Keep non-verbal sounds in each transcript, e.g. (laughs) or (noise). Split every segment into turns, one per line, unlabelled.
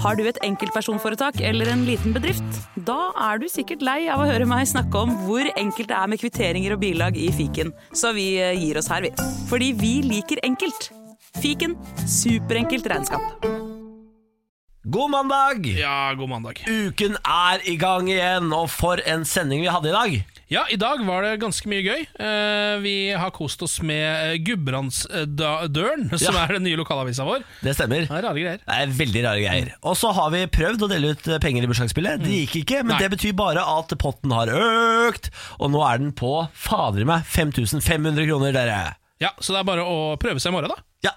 Har du et enkeltpersonforetak eller en liten bedrift? Da er du sikkert lei av å høre meg snakke om hvor enkelt det er med kvitteringer og bilag i fiken, så vi eh, gir oss her, vi. Fordi vi liker enkelt. Fiken superenkelt regnskap.
God mandag!
Ja, god mandag.
Uken er i gang igjen, og for en sending vi hadde i dag.
Ja, i dag var det ganske mye gøy. Eh, Vi har kost oss med eh, Gudbrandsdølen, (laughs) som
Ja.
er den nye lokalavisa vår.
Det stemmer.
Det er rare greier.
Det er veldig rare greier. Og så har vi prøvd å dele ut eh, penger i bursdagsspillet. Det gikk ikke, men
Nei.
det betyr bare at potten har økt, og nå er den på fader i meg 5500 kroner, dere.
Ja, Så det er bare å prøve seg i morgen, da.
Ja.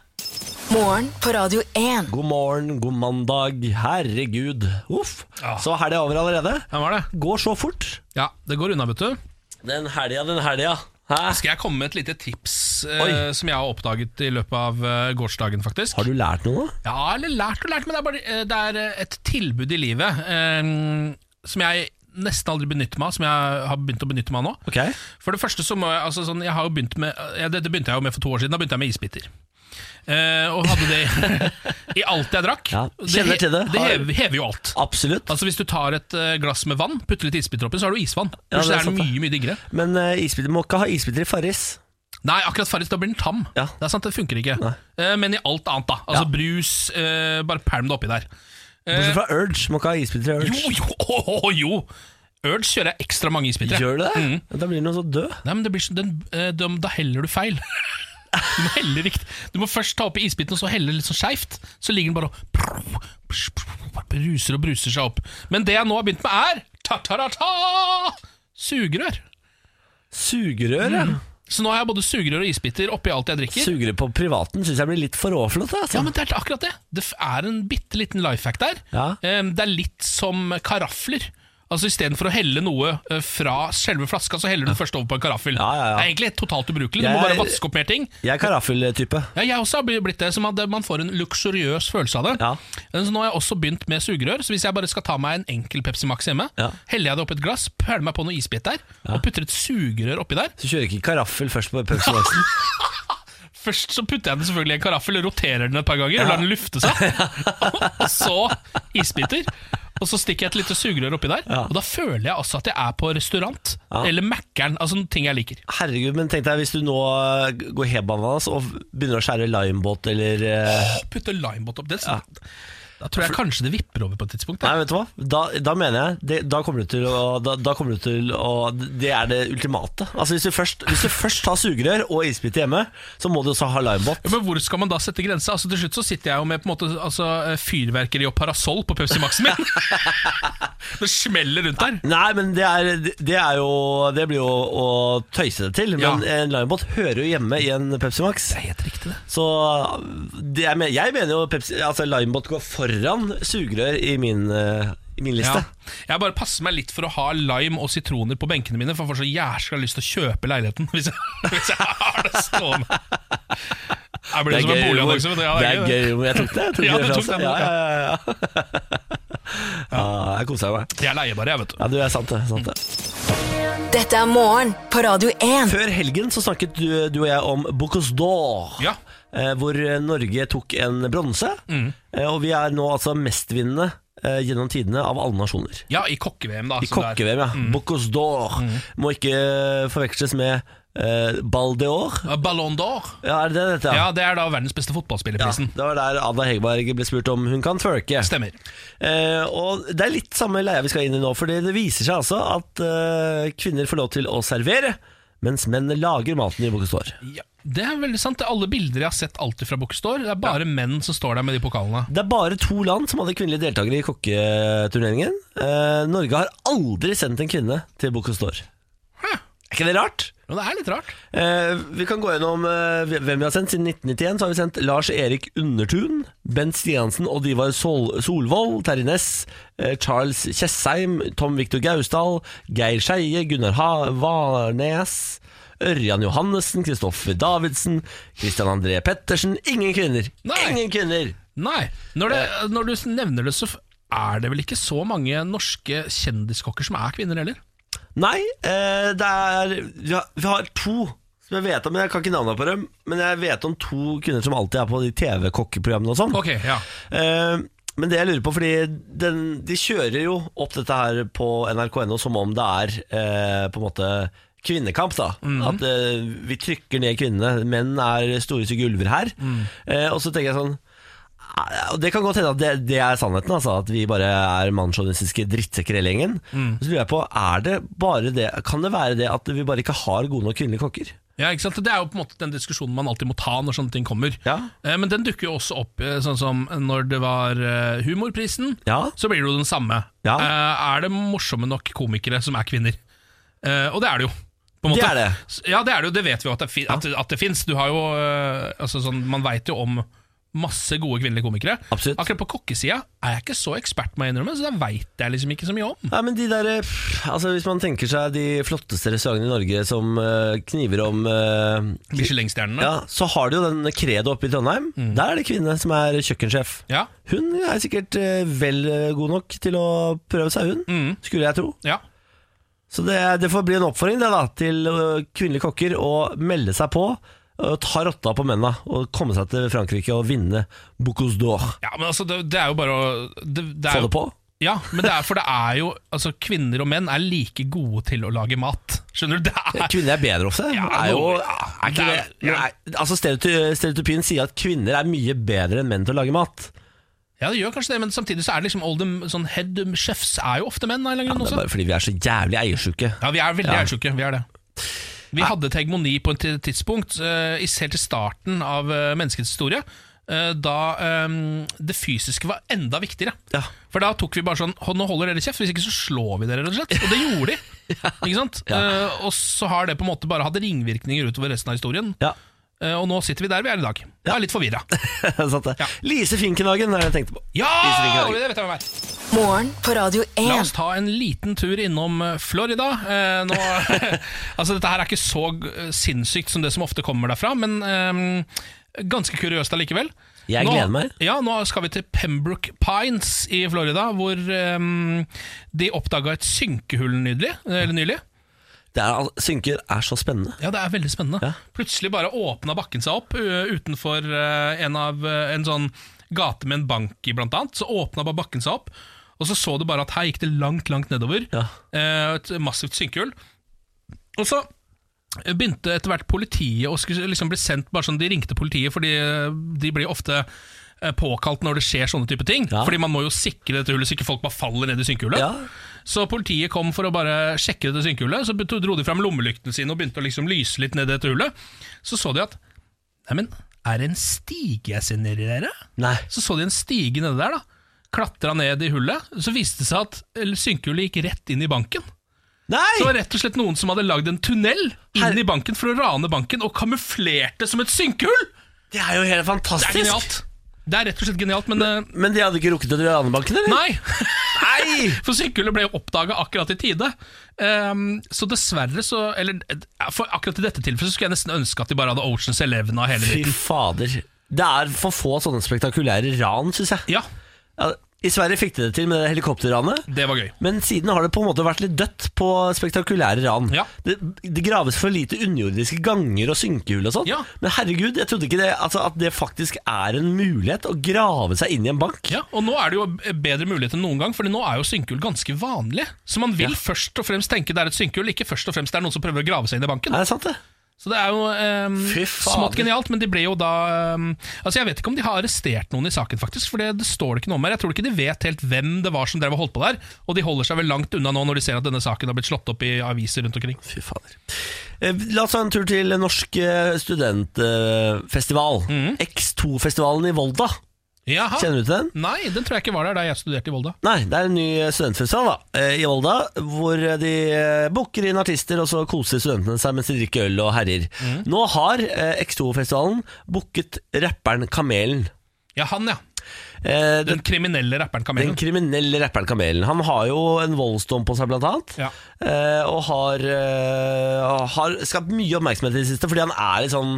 Morgen på Radio 1.
God morgen, god mandag. Herregud. Uff.
Ja.
Så helga er over allerede.
Ja, var det?
Går så fort.
Ja, det går unna, vet du.
Den helga, den helga. Hæ?
Skal jeg komme med et lite tips eh,
Oi.
som jeg har oppdaget i løpet av eh, gårsdagen, faktisk?
Har du lært noe?
Ja, eller lært og lært, men det er, bare, eh, det er eh, et tilbud i livet eh, som jeg nesten aldri benytter meg av, som jeg har begynt å benytte meg av nå.
Ok.
For det første så må jeg, altså sånn, jeg har jo begynt med ja, Dette begynte jeg jo med for to år siden Da begynte jeg med isbiter Eh, Og hadde det i (laughs) alt jeg drakk
Ja, kjenner
he-
til det. Har-
hever, hever jo alt
Absolutt.
Altså hvis du tar et eh, glass med vann Putter litt isbiter oppi, så har du isvann
Ja,
Plutselig
det er
er det
sant, det.
mye, mye diggere
Men eh, isbiter må ikke ha isbiter i Farris.
Nei, akkurat farlig, da blir den tam
Ja.
Det er sant, det funker ikke Eh, Men i alt annet da Altså
Ja.
brus, eh, bare pælm det oppi der
Bortsett fra Urge. Må ikke ha isbiter i Urge.
Eh. Jo, (laughs) jo, å, jo Urge kjører jeg ekstra mange isbiter jeg.
Gjør du det? Da blir den jo så død.
Nei, men det blir sånn den, eh, dem- Da heller du feil (laughs) Du må helle riktig Du må først ta opp i isbiten Og så helle litt sånn skjevt Så ligger den bare og Bruser og bruser seg opp Men det jeg nå har begynt med er Ta-ta-ta-ta Sugerør
Sugerør, ja.
Så nå har jeg både sugerør og isbiter Oppi alt jeg drikker
Sugere på privaten syns jeg blir litt for overflott. Altså.
Ja, men det er akkurat det Det f- er en bitteliten lifehack der
Ja.
Eh, Det er litt som karaffler Altså i stedet for å helle noe eh, fra selve flaska Så heller du først over på en karaffel
Ja, ja, ja.
Det er egentlig totalt ubrukelig Du må
Jeg-
bare vaske opp mer ting
Jeg er karaffel-type.
Ja, jeg også har blitt det, som at man får en luksuriøs følelse av det.
Ja.
Så nå har jeg også begynt med sugerør, så hvis jeg bare skal ta meg en enkel Pepsi Max hjemme,
Ja.
heller jeg det oppi et glass, pæler meg på noe isbit der, og putter et sugerør oppi der.
Så kjører ikke karaffel først på Pepsi
(laughs)
Max-en.
Først så putter jeg den selvfølgelig i en karaffel, roterer den et par ganger, og lar den lufte seg.
(laughs)
(laughs) og så isbiter. Og så stikker jeg et lite sugerør oppi der, og da føler jeg også at jeg er på restaurant. Eller Mækkern, altså ting jeg liker.
Herregud, men tenk deg hvis du nå eh, går hebananas og begynner å skjære limebåt eller eh,
Å, Putte limebåt opp, det er sant. Da tror jeg kanskje det vipper over på et tidspunkt.
Nei,
da.
vet du hva? Da, da mener jeg det, Da kommer du til å da, da kommer du til å Det er det ultimate. Altså Hvis du først, hvis du først tar sugerør og isbit hjemme, så må du også ha limebåt.
Ja, men hvor skal man da sette grensa? Altså, til slutt så sitter jeg jo med på en måte, altså, fyrverkeri og parasoll på Pepsi Max-en (laughs) min. det smeller rundt der.
Nei, men det er, det er jo Det blir jo å tøyse det til.
Ja.
Men en limebåt hører jo hjemme i en Pepsi Max.
Helt riktig det.
Så det jeg, mener, jeg mener jo Pepsi, altså Limebot går foran sugerør i min, eh, i min
Ja.
liste.
Jeg bare passer meg litt for å ha lime og sitroner på benkene mine, for jeg får så jæskla lyst til å kjøpe leiligheten (laughs) hvis jeg, hvis jeg har det stående. Jeg blir det som en boligannonse. vet du. Ja,
det er gøy humor. Jeg tok det. Jeg tok
(laughs) Ja,
det
du tok
fra seg.
den,
ja, ja, ja, ja. ja, jeg koser meg.
Jeg er leiebare, jeg, vet du.
Ja, du er sant det. Sant det.
Dette er morgen på Radio 1.
Før helgen så snakket du, du og jeg om Bocuse d'Or.
Ja.
eh, Hvor Norge tok en bronse.
Mm.
Eh, Og vi er nå altså mestvinnende eh, gjennom tidene av alle nasjoner.
Ja, i kokke-VM, da.
I
som det er. Mm.
kokke-VM, ja. Bocuse d'Or. Må ikke forveksles med eh, Ball d'Or.
Ja, Ballon d'Or.
Ja, er det det dette?
Ja, det er da verdens beste fotballspillerprisen.
Det var der Ada Hegerberg ble spurt om hun kan twerke.
Stemmer.
Eh, og Det er litt samme leia vi skal inn i nå, fordi det viser seg altså at eh, kvinner får lov til å servere, mens menn lager maten i Bocuse d'Or.
Ja, det er veldig sant. Det er alle bilder jeg har sett alltid fra Bokkestår. Det er bare menn som står der med de pokalene.
Det er bare to land som hadde kvinnelige deltakere i kokketurneringen. Eh, Norge har aldri sendt en kvinne til Bocuse d'Or.
Hæ?
Er ikke det rart?
Ja, det er litt rart.
Eh, vi kan gå gjennom eh, hvem vi har sendt. Siden 1991 så har vi sendt Lars Erik Undertun, Bent Stiansen og Divar Sol Solvold, Terje Næss, eh, Charles Tjessheim, Tom Victor Gausdal, Geir Skeie, Gunnar ha Varnes, Ørjan Johannessen, Kristoffer Davidsen, Christian André Pettersen. Ingen kvinner!
Nei.
Ingen kvinner!
Nei, når, det, når du nevner det, så er det vel ikke så mange norske kjendiskokker som er kvinner heller.
Nei, eh, det er vi har, vi har to som jeg vet om, men jeg kan ikke navnet på dem. Men jeg vet om to kvinner som alltid er på de TV-kokkeprogrammene og sånn.
Ok, ja.
Eh, Men det jeg lurer på, fordi den, de kjører jo opp dette her på nrk.no som om det er eh, på en måte kvinnekamp. da At eh, vi trykker ned kvinnene. Menn er storeste gulver her. Eh, og så tenker jeg sånn eh, og Det kan godt hende at det, det er sannheten, altså, at vi bare er mannssjåvinistiske drittsekker hele gjengen. Så lurer jeg på, er det bare det, kan det være det at vi bare ikke har gode nok kvinnelige kokker?
Ja, ikke sant? Det er jo på en måte den diskusjonen man alltid må ta når sånne ting kommer.
Ja.
Eh, Men den dukker jo også opp, eh, sånn som når det var eh, Humorprisen,
Ja.
så blir det jo den samme.
Ja.
Eh, Er det morsomme nok komikere som er kvinner? Eh, Og det er det jo. På en
Det
måte.
er det.
S- Ja, det er det jo. Det vet vi jo at det, fin at, at det fins. Du har jo eh, altså sånn, Man veit jo om masse gode kvinnelige komikere.
Absolutt.
Akkurat på kokkesida er jeg ikke så ekspert, må jeg innrømme, så det veit jeg liksom ikke så mye om.
Nei, men de der, eh, pff, altså Hvis man tenker seg de flotteste restaurantene i Norge som eh, kniver om eh,
Michelin-stjernene.
ja, Så har du jo den Credo oppe i Trondheim.
Mm.
Der er det kvinne som er kjøkkensjef.
Ja.
Hun er sikkert eh, vel eh, god nok til å prøve seg, hun.
Mm.
Skulle jeg tro.
ja.
Så det, det får bli en oppfordring det da til eh, kvinnelige kokker å melde seg på. Og ta rotta på mennene og komme seg til Frankrike og vinne Bocuse d'Or.
Ja, men altså, det, det er jo bare å det, det er
Få
jo-
det på.
Ja, men det er for det er jo altså, Kvinner og menn er like gode til å lage mat. Skjønner du? Det er
Eh, Kvinner er bedre ofte.
Ja,
er jo,
noe-
er ikke
det
det,
er- ja.
nei, altså stereoty- Stereotypien sier at kvinner er mye bedre enn menn til å lage mat.
Ja, det gjør kanskje det, men samtidig så er det liksom all the- sånn head chefs er jo ofte menn. av en eller annen grunn
Det er
også.
bare fordi vi er så jævlig eiersjuke.
Ja, vi er veldig
Ja.
ærtjukke. Vi er det. Vi hadde et hegemoni på et ti- tidspunkt, eh, i- helt til starten av eh, menneskets historie, eh, da eh, det fysiske var enda viktigere.
Ja.
For da tok vi bare sånn «Hå, Nå holder dere kjeft, hvis ikke så slår vi dere, rett og slett. Og det
(laughs)
gjorde de. Ikke sant? Eh, og så har det på en måte bare hatt ringvirkninger utover resten av historien.
Ja, (laughs)
Eh, Og nå sitter vi der vi er i dag. Jeg er litt forvirra.
sant det.
Ja.
Lise Finkenhagen er det jeg tenkte på.
Ja!
Lise Finkenhagen.
Det vet jeg hvem er.
Morgen på Radio
La oss
1.
ta en liten tur innom eh, Florida. Eh, nå, (laughs) altså Dette her er ikke så eh, sinnssykt som det som ofte kommer derfra, men eh, ganske kuriøst allikevel.
Jeg
nå,
gleder meg.
Ja, Nå skal vi til Pembroke Pines i Florida, hvor eh, de oppdaga et synkehull nydelig, eller nylig.
Det er, al- synker er så spennende.
Ja, det er veldig spennende.
Ja.
Plutselig bare åpna bakken seg opp ø, utenfor ø, en, av, ø, en sånn gate med en bank i, blant annet. Så åpna bare bakken seg opp, og så så du bare at her gikk det langt, langt nedover.
Ja.
Eh, Et massivt synkehull. Og så begynte etter hvert politiet å skulle liksom bli sendt bare sånn, De ringte politiet, fordi eh, de blir ofte eh, påkalt når det skjer sånne type ting.
Ja.
Fordi man må jo sikre dette hullet, så ikke folk bare faller ned i synkehullet.
Ja.
Så politiet kom for å bare sjekke dette synkehullet. Så begynte- dro de fram lommelyktene sine og begynte å liksom lyse litt ned i dette hullet. Så så de at Neimen, er det en stige jeg ser nedi der? da?»
Nei.
Så så de en stige nede der, da. Klatra ned i hullet. Så viste det seg at eller, synkehullet gikk rett inn i banken.
Nei!
Det var rett og slett noen som hadde lagd en tunnel inn i banken for å rane banken, og kamuflerte som et synkehull!
Det er jo helt
Det
fantastisk.
er genialt. Det er rett og slett genialt, men eh,
Men de hadde ikke rukket å dra Ranebanken, eller?
Nei!
Nei!
(laughs) For sykehulet ble jo oppdaga akkurat i tide. Ehm, så dessverre så Eller eh, for akkurat i dette tilfellet så skulle jeg nesten ønske at de bare hadde Oceans Eleven og hele
Fy
dritten.
fader. Det er for få sånne spektakulære ran, syns jeg.
Ja,
Ja, I Sverige fikk de det til med det helikopterranet.
det var gøy.
Men siden har det på en måte vært litt dødt på spektakulære ran.
Ja.
Det, det graves for lite underjordiske ganger og synkehull og sånn.
Ja.
Men herregud, jeg trodde ikke det, altså, at det faktisk er en mulighet å grave seg inn i en bank.
Ja, og nå er det jo bedre mulighet enn noen gang, Fordi nå er jo synkehull ganske vanlig. Så man vil først og fremst tenke det er et synkehull, ikke først og fremst det er noen som prøver å grave seg inn i banken.
Er det sant, det?
Så det er jo ehm,
Fy fader.
smått genialt, men de ble jo da ehm, Altså Jeg vet ikke om de har arrestert noen i saken, faktisk, for det, det står det ikke noe om her. Jeg tror ikke de vet helt hvem det var som drev og holdt på der, og de holder seg vel langt unna nå når de ser at denne saken har blitt slått opp i aviser rundt omkring.
Fy fader. Eh, La oss ta en tur til Norsk eh, studentfestival. X2-festivalen i Volda.
Jaha.
Kjenner du til den?
Nei, den tror jeg ikke var der da jeg studerte i Volda.
Nei, det er en ny studentfestival da, eh, i Volda, hvor de eh, booker inn artister, og så koser studentene seg mens de drikker øl og herjer. Nå har eh, X2-festivalen booket rapperen Kamelen.
Ja, han, ja.
Eh, Den,
Den kriminelle rapperen
den
Kamelen.
kriminelle rapperen Kamelen. Han har jo en voldsdom på seg, blant annet.
Ja.
eh, Og har, eh, har skapt mye oppmerksomhet i det siste, fordi han er litt sånn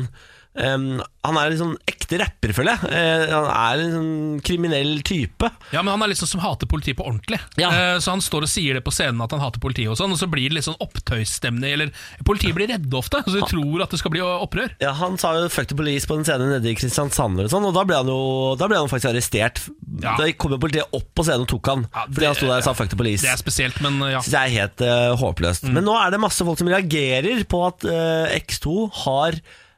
em, Han er en sånn ekte rapper, føler jeg. Eh, han er en sånn kriminell type.
Ja, men han er liksom som hater politiet på ordentlig.
Ja.
Eh, Så han står og sier det på scenen at han hater politiet og sånn, og så blir det litt sånn opptøysstemning, eller Politiet blir redde ofte, så de tror at det skal bli opprør.
Ja, han sa jo 'fuck the police' på en scene nede i Kristiansand, og sånn Og da ble han jo da ble han faktisk arrestert.
Ja.
Da kom jo politiet opp på scenen og tok han
Ja, det-
fordi han sto der og sa 'fuck the police'.
Det er Mm. spesielt, men eh, ja.
Synes jeg er helt eh, håpløst. Men nå er det masse folk som reagerer på at eh, X2 har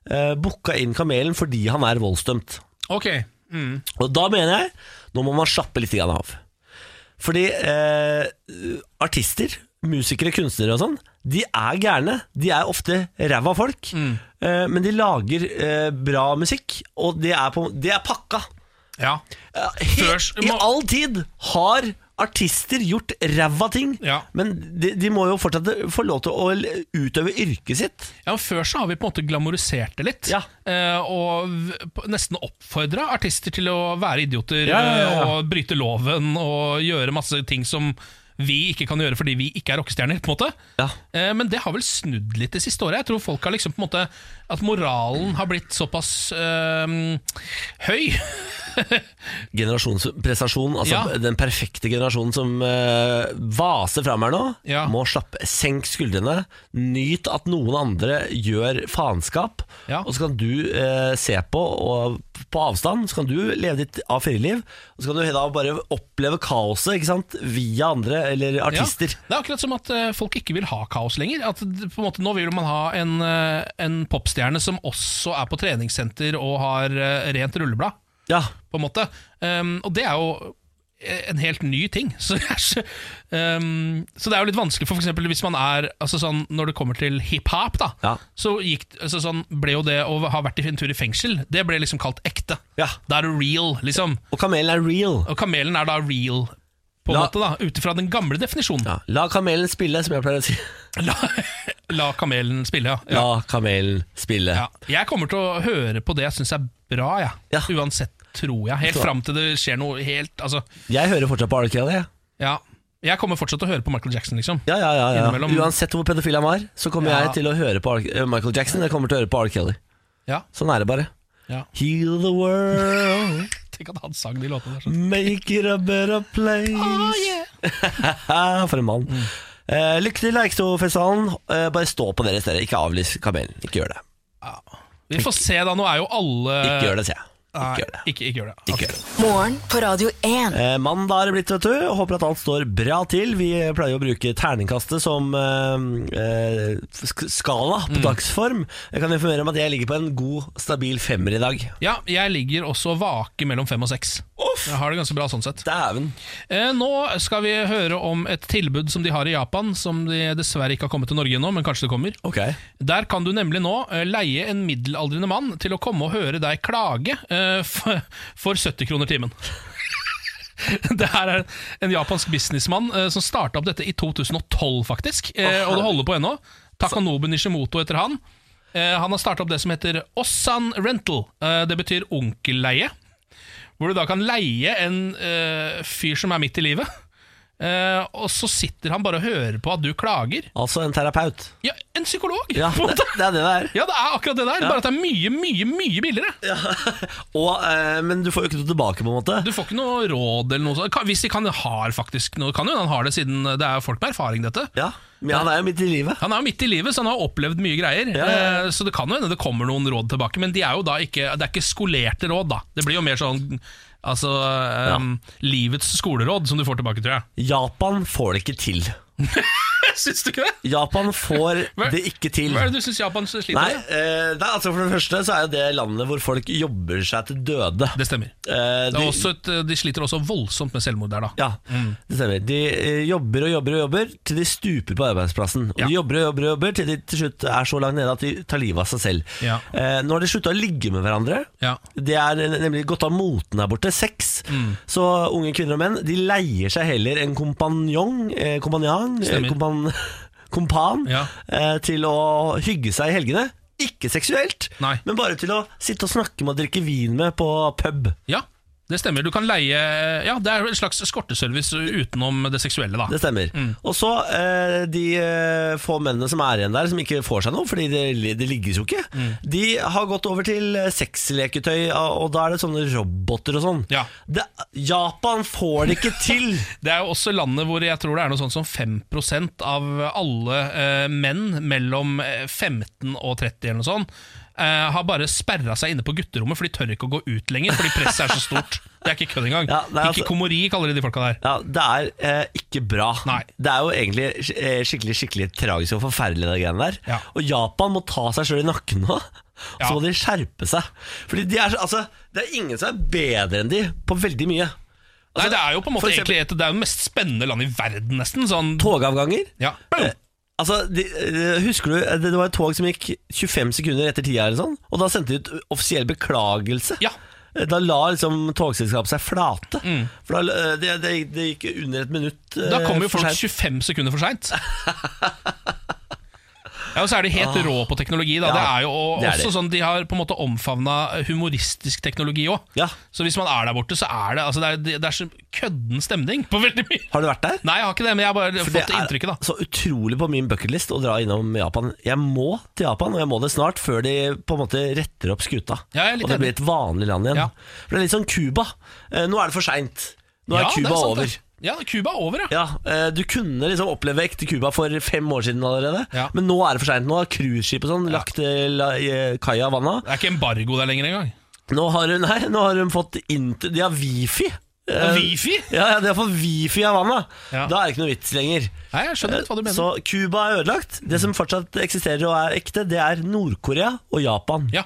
uh, booka inn Kamelen fordi han er voldsdømt.
Ok. Mm.
Og da mener jeg nå må man slappe litt grann av. Fordi eh, artister, musikere, kunstnere og sånn, de er gærne. De er ofte ræva folk,
Mm.
eh, men de lager eh, bra musikk, og det er, på, det er pakka.
Ja.
Ja, he-
Først
I
må-
all tid har artister gjort ræva ting,
Ja.
men de, de må jo fortsatt få lov til å l- utøve yrket sitt.
Ja, men Før så har vi på en måte glamorisert det litt.
Ja.
eh, Og v- på- nesten oppfordra artister til å være idioter
Ja, ja, ja, ja.
eh, og bryte loven og gjøre masse ting som vi ikke kan gjøre fordi vi ikke er rockestjerner. på en måte
Ja.
Eh, Men det har vel snudd litt det siste året. Jeg tror folk har liksom på en måte At moralen har blitt såpass eh, høy.
Generasjonsprestasjon, altså
Ja.
den perfekte generasjonen som eh, vaser fram her nå,
Ja.
må slappe, senk skuldrene, nyt at noen andre gjør faenskap,
Ja.
og så kan du eh, se på, og på avstand, så kan du leve ditt A4-liv, og så kan du da bare oppleve kaoset, ikke sant, via andre, eller artister.
Ja, det er akkurat som at eh, folk ikke vil ha kaos lenger. At det- på en måte Nå vil man ha en, eh, en popstjerne som også er på treningssenter og har eh, rent rulleblad.
ja.
på en måte. Um, og det er jo en helt ny ting. (laughs) Så det er, så, um, så det er jo litt vanskelig, for eksempel hvis man er altså sånn, Når det kommer til hiphop, da,
Ja.
så gikk, altså sånn, ble jo det å ha vært i en tur i fengsel, det ble liksom kalt ekte.
Ja.
Da er det real, liksom.
Og kamelen er real.
Og kamelen er da real, på en
La-
måte, da, ut ifra den gamle definisjonen.
Ja, la kamelen spille, som jeg pleier å si.
(laughs) La, la kamelen spille, ja. ja.
La kamelen spille.
Ja. Jeg kommer til å høre på det jeg syns er bra, jeg.
Ja.
Uansett, tror jeg. Helt
Så-
fram til det skjer noe helt Altså,
Jeg hører fortsatt på R. Kelly. jeg.
Ja, jeg kommer fortsatt til å høre på Michael Jackson, liksom.
Ja, ja, ja, ja.
Innimellom.
Uansett hvor pedofil han var, så kommer
Ja.
jeg til å høre på R- Michael Jackson. Jeg kommer til å høre på R. Kelly.
Ja.
Sånn er det bare.
Ja. (laughs)
Heal the world,
Tenk at han sang de låtene der. sånn.
make it a
Ah,
better place. (laughs) For en mann.
Mm.
Eh, lykke til Leikstofestivalen. Eh, bare stå på deres dere. Ikke avlys kamelen. Ikke gjør det.
Vi får se, da. Nå er jo alle
Ikke gjør det, sier jeg. Ikke
Eh, Nei,
gjør det.
Ikke, ikke gjør det.
Ikke gjør det.
Morgen på Radio 1.
Eh, Mandag er det blitt, vet du. Håper at alt står bra til. Vi pleier å bruke terningkastet som eh, eh, sk- skala
Mm.
på dagsform. Jeg kan informere om at jeg ligger på en god, stabil femmer i dag.
Ja, jeg ligger også vake mellom fem og seks.
Uff!
Jeg har det ganske bra sånn sett.
Dæven.
Eh, nå skal vi høre om et tilbud som de har i Japan, som de dessverre ikke har kommet til Norge ennå, men kanskje det kommer.
Ok.
Der kan du nemlig nå eh, leie en middelaldrende mann til å komme og høre deg klage eh, for, for 70 kroner timen. (laughs) Det her er en japansk businessmann eh, som starta opp dette i 2012, faktisk. eh, Og det holder på ennå. Takanobu Nishimoto heter han. Eh, Han har starta opp det som heter Ossan Rental. Eh, Det betyr onkelleie. Hvor du da kan leie en eh, fyr som er midt i livet. Eh, og så sitter han bare og hører på at du klager.
Altså en terapeut.
Ja, en psykolog!
Ja,
(laughs) på en
(laughs) det,
måte.
det er det det er.
Ja, det er akkurat det der, bare at det er mye, mye, mye billigere.
Og, eh, men du får jo ikke noe tilbake, på en måte.
Du får ikke noe råd eller noe sånt. Kan- Hvis de kan, har faktisk noe, kan jo han har det siden det er folk med erfaring, dette.
Ja, Men han er jo midt i livet.
Han er jo midt i livet, så han har opplevd mye greier.
Ja, ja,
Eh, Så det kan jo hende det kommer noen råd tilbake, men de er jo da ikke, det er ikke skolerte råd, da. Det blir jo mer sånn altså, ehm, livets skoleråd som du får
(laughs)
tilbake, tror jeg.
Japan får det ikke til.
Syns du ikke det?
Japan (laughs) får
Hva-
det ikke til.
Hva er det du syns Japan sliter
Nei,
med?
eh, nei, altså For det første så er jo det landet hvor folk jobber seg til døde.
Det stemmer.
Eh,
Det er
de-
også et, de sliter også voldsomt med selvmord der, da.
Ja,
Mm.
det stemmer. De eh, jobber og jobber og jobber til de stuper på arbeidsplassen. Og
Ja.
De jobber og jobber og jobber til de til slutt er så langt nede at de tar livet av seg selv.
Ja.
Eh, nå har de slutta å ligge med hverandre.
Ja. Mm.
Det er nemlig gått av moten her borte. Sex. Så unge kvinner og menn De leier seg heller en kompanjong, eh, kompanjong eh,
Stemmer.
kompan, (laughs) kompan
Ja.
eh, til å hygge seg i helgene. Ikke seksuelt,
Nei.
men bare til å sitte og snakke med og drikke vin med på pub.
Ja, Det stemmer. Du kan leie Ja, det er en slags eskorteservice utenom det seksuelle, da.
Det stemmer.
Mm.
Og så eh, de eh, få mennene som er igjen der, som ikke får seg noe, fordi det, det ligges jo ikke,
Mm.
de har gått over til eh, sexleketøy, og og da er det sånne roboter og sånn.
Ja.
Det, Japan får det ikke
(laughs)
til!
Det er jo også landet hvor jeg tror det er noe sånn som 5 av alle eh, menn mellom eh, 15 og 30 eller noe sånt, eh, har bare sperra seg inne på gutterommet, for de tør ikke å gå ut lenger, fordi presset er så stort. Det er ikke kødd engang.
Ja, det er altså-
Hikikomori kaller de de folka der.
Ja, Det er eh, ikke bra.
Nei.
Det er jo egentlig sk- eh, skikkelig skikkelig tragisk og forferdelig, det greiene der.
Ja.
Og Japan må ta seg sjøl i nakken nå. og Så
Ja.
må de skjerpe seg. Fordi de er, så- altså, Det er ingen som er bedre enn de på veldig mye. Altså,
Nei, det er jo på en måte
for eksempel-
egentlig et, det er jo det mest spennende landet i verden, nesten. Sånn,
Togavganger
ja.
Eh, Altså, de, eh, Husker du eh, det var et tog som gikk 25 sekunder etter tida, eller sånn, og da sendte de ut offisiell beklagelse?
Ja. Mm.
Eh, Da la liksom togselskapet seg flate. For da, eh, det, det, gikk- det gikk under et minutt. eh,
Da kommer jo
for
folk
sent.
25 sekunder for seint. Ja, og så er de helt rå på teknologi. Da.
Ah. Ja,
det er jo og-
det er
også
de.
sånn De har på en måte omfavna humoristisk teknologi òg.
Ja.
Så hvis man er der borte, så er det altså det er, det er så kødden stemning på veldig mye.
Har du vært der?
Nei, jeg har ikke det, men jeg har bare
For
fått det inntrykket, da.
så utrolig på min bucketlist å dra innom Japan. Jeg må til Japan, og jeg må det snart, før de på en måte retter opp skuta.
Ja, jeg er litt
og det blir
enig.
et vanlig land igjen.
Ja.
For Det er litt sånn Cuba. Eh, Nå er det for seint. Nå er
Ja, det
Cuba
sant,
over.
det. Ja, Cuba er over, ja.
Ja, eh, Du kunne liksom oppleve ekte Cuba for fem år siden allerede,
Ja.
men nå er det for seint. Nå har cruiseskip og sånn lagt eh, la, i, eh, kaia vanna.
Det er ikke embargo der lenger engang.
Nå har hun, (laughs) nei, nå har hun fått inter... De har wifi. Eh,
Wifi?
Ja, ja, de har fått wifi av vanna.
Ja.
Da er det ikke noe vits lenger.
Nei, jeg skjønner litt hva du mener.
eh, Så Cuba er ødelagt. Det som fortsatt eksisterer og er ekte, det er Nord-Korea og Japan.
Ja.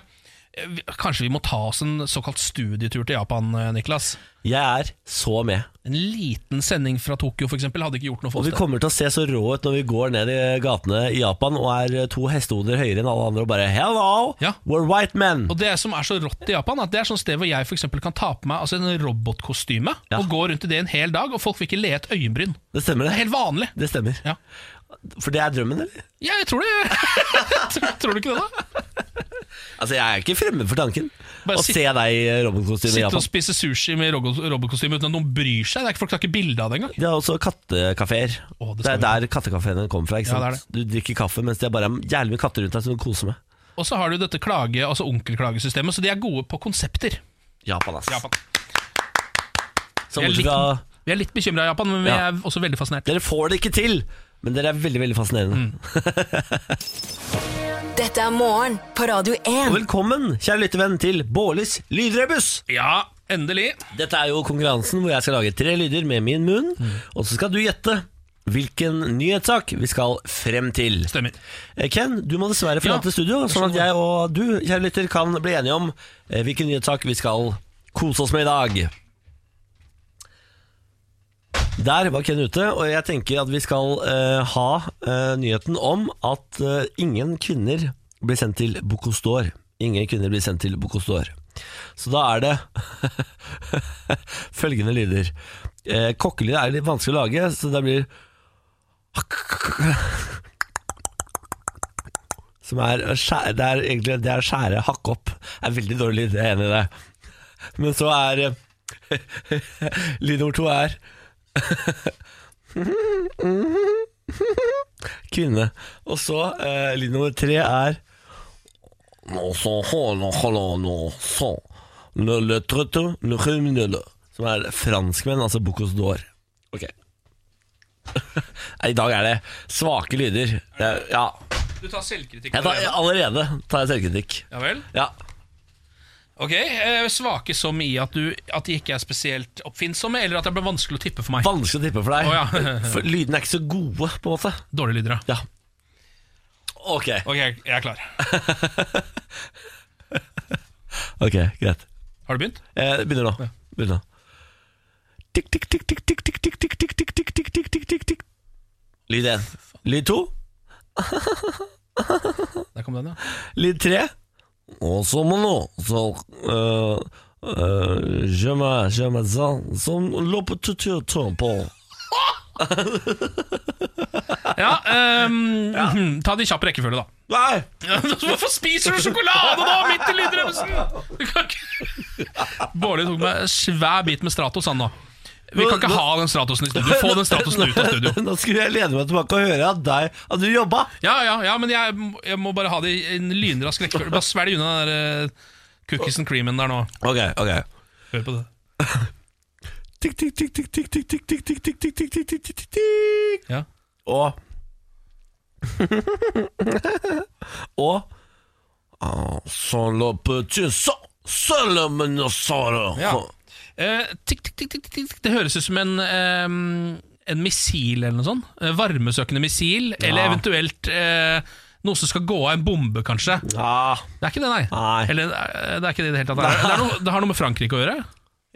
Eh, vi- Kanskje vi må ta oss en såkalt studietur til Japan, eh, Niklas.
Jeg er så med.
En liten sending fra Tokyo for eksempel, hadde ikke gjort noe for
Og
oss.
vi
det.
kommer til å se så rå ut når vi går ned i gatene i Japan og er to hestehoder høyere enn alle andre og bare Hello,
Ja.
we're white men.
Og det som er så rått i Japan, at det er sånn sted hvor jeg for eksempel kan ta på meg altså en robotkostyme
Ja.
og gå rundt i det en hel dag, og folk vil ikke le et øyenbryn.
Det stemmer,
Det er
det.
helt vanlig.
Det stemmer.
Ja.
For det er drømmen, eller?
Ja, jeg tror det. (laughs) tror, tror du ikke det, da?
Altså, jeg er ikke fremmed for tanken.
Bare
å
sitt-
se deg i robotkostyme i
Sitte og
Japan.
spise sushi med rogo- robotkostyme uten at noen bryr seg. Det er ikke, folk tar ikke bilde av det engang.
De har også kattekafeer.
Å, det
det, er
stemmer.
der kattekafeene kommer fra. ikke
Ja,
sant?
det
Du
er
drikker kaffe mens det er bare er jævlig mye katter rundt deg som du koser med.
Og så har du dette klage, altså onkelklagesystemet, så de er gode på konsepter.
Japan, ass.
Japan.
Så
Jeg er
bortsett fra
Vi er litt bekymra i Japan, men vi
Ja.
er også veldig fascinert.
Dere får det ikke til, men dere er veldig veldig fascinerende.
Mm.
Dette er morgen på Radio
Og
1.
velkommen, kjære lyttevenn, til Bårlis lydrebuss!
Ja, endelig.
Dette er jo konkurransen hvor jeg skal lage tre lyder med min munn,
Mm.
og så skal du gjette hvilken nyhetssak vi skal frem til.
Stemmer.
Eh, Ken, du må dessverre forlate
Ja,
studio, sånn at jeg og du, kjære lytter, kan bli enige om eh, hvilken nyhetssak vi skal kose oss med i dag. Der var Ken ute, og jeg tenker at vi skal eh, ha eh, nyheten om at eh, ingen kvinner blir sendt til Bocostor. Ingen kvinner blir sendt til Bocostor. Så da er det (laughs) følgende lyder. Eh, kokkelyd er litt vanskelig å lage, så det blir Som er å skjære, det er egentlig det er å skjære hakke opp. Det er veldig dårlig lyd, jeg er enig i det. Men så er eh, (laughs) Lyd nummer to er (laughs) Kvinne. Og så eh, lyd nummer tre er Nå så holde, holde, nå så. Le, le, trøtte, le, criminelle. Som er franskmenn, altså Bocuse d'Or. (laughs) Ok. I dag er det svake lyder. Det er, ja.
Du tar selvkritikk.
Jeg tar, jeg- allerede tar jeg selvkritikk.
Ja vel?
Ja.
Ok, eh, Svake som i at, du, at de ikke er spesielt oppfinnsomme, eller at det ble vanskelig å tippe for meg.
Vanskelig å tippe for deg.
Å, ja.
(laughs) for lydene er ikke så gode, på en måte.
Dårlige lyder, ja.
Ja. Ok,
Ok, jeg er klar.
ok, greit.
Har du begynt?
Eh, begynner nå. Begynner nå. Tikk, tikk, tikk, tikk, tikk, tikk, tikk, tikk, tikk, tikk, tikk, tikk, tikk, tikk, tikk. Lyd én. Lyd to.
Der kom (laughs) den, ja.
Lyd tre. Og så må nå så eh, øh, øh, Je me, je me, ça, som loppetutur på.
Ja, ehm, mhm, Ta det i kjapp rekkefølge, da. (laughs)
Nei!
Hvorfor spiser du sjokolade da, midt i lydremsen?! Du kan ikke- (laughs) Bårli tok meg en svær bit med Stratos, han nå. Vi kan ikke ha den Stratosen i studio. Få den Stratosen ut av (laughs) studio.
Nå skulle jeg lene meg tilbake og høre at, deg, at du jobba.
Ja, ja, ja, men jeg, jeg må bare ha det i en lynrask rekkefølge. Bare svelg unna den der eh, cookies and creamen der nå.
Ok, ok
Hør på det.
Tikk, tikk, tikk, tikk, tikk, tikk, tikk, tikk, tikk, tikk, tikk, tikk, tikk, tikk, tikk, tikk.
Ja.
Og (laughs) Og Ah, Sånn løper tysa Sølvmenosaurer
Ja. Eh, tikk, tikk, tikk, tikk, tikk, tikk. Det høres ut som en, ehm, en missil eller noe sånt. Eh, Varmesøkende missil, eller eventuelt eh, noe som skal gå av en bombe, kanskje.
Ja,
Det er ikke det, nei.
Nei.
Eller, eh, det er ikke det i det hele tatt. Det, er, det, er noe, det har noe med Frankrike å gjøre.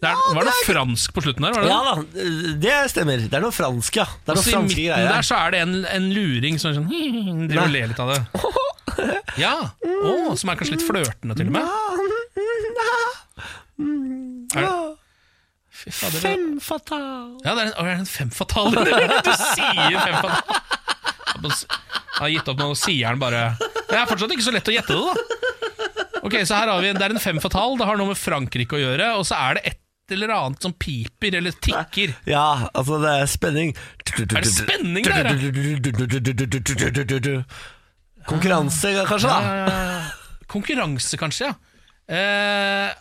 Det er, var det noe fransk på slutten der? Var det
ja da,
det?
det stemmer Det er noe fransk, ja Det er noe
Så Altså, I
franske
midten
greier
der så er det en, en luring som er sånn (laughs) Driver og ler litt av det.
(laughs)
Ja, Å, Som er kanskje litt flørtende, til og med. Er det- Fy fader, det-
Fem fatal
Ja, det er en, å, det er en femfatal. (laughs) Du sier femfatal. Jeg har gitt opp nå, og sier han bare Det er fortsatt ikke så lett å gjette det, da. Ok, så her har vi en, Det er en femfatal. Det har noe med Frankrike å gjøre. Og så er det et eller annet som piper eller tikker.
Ja, altså det er spenning Er
det spenning der,
der? Konkurranse kanskje da
Eh, konkurranse, kanskje, ja. Eh,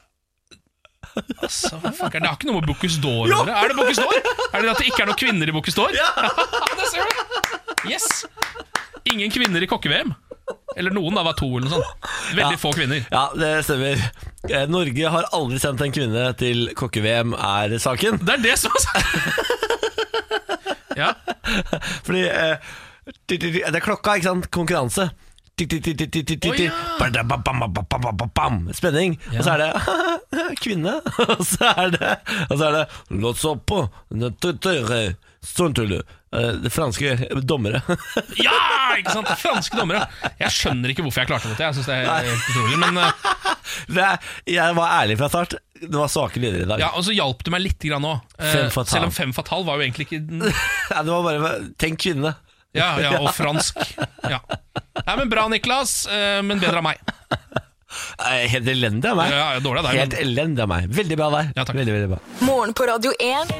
altså, hva fuck er det? det har ikke noe med Bocuse d'Or å gjøre. Er det Bocuse d'Or? Er det at det ikke er noen kvinner i Bocuse (laughs) d'Or? det ser du. Yes! Ingen kvinner i kokke-VM. Eller noen, da var to eller noe sånt. Veldig få kvinner.
Ja, det stemmer. Eh, Norge har aldri sendt en kvinne til kokke-VM, er saken.
Det er det som er sagt! (laughs) Ja.
Fordi eh, ti- ti- ti- Det er klokka, ikke sant? Konkurranse. Ti- ti- ti- ti- ti- ti- ti-
Å,
ti.
ja.
Ba-da-ba-bam-ba-ba-ba-ba-bam. Spenning. Og så er det (laughs) kvinne. (laughs) Og så er det Og så er det Låt så på Nøttetøyre. Stormtulle. Eh, Det franske dommere. (laughs)
ja, ikke sant? Franske dommere. Jeg skjønner ikke hvorfor jeg klarte dette. Jeg synes det er helt utrolig Men eh,
Det er- Jeg var ærlig fra start. Det var svake lyder i dag. (laughs)
ja, og så hjalp det meg litt grann òg.
Fem fatal.
Selv om fem fatal var jo egentlig ikke den
Nei, Det var bare Tenk kvinne.
Ja, ja, og fransk. Ja. Nei, men Bra, Niklas, eh, men bedre av meg.
Eh, Helt elendig av meg.
Ja, ja, dårlig av deg,
Helt
men
elendig av meg. Veldig bra av deg.
Ja, takk.
Veldig, veldig bra.
Morgen på Radio 1.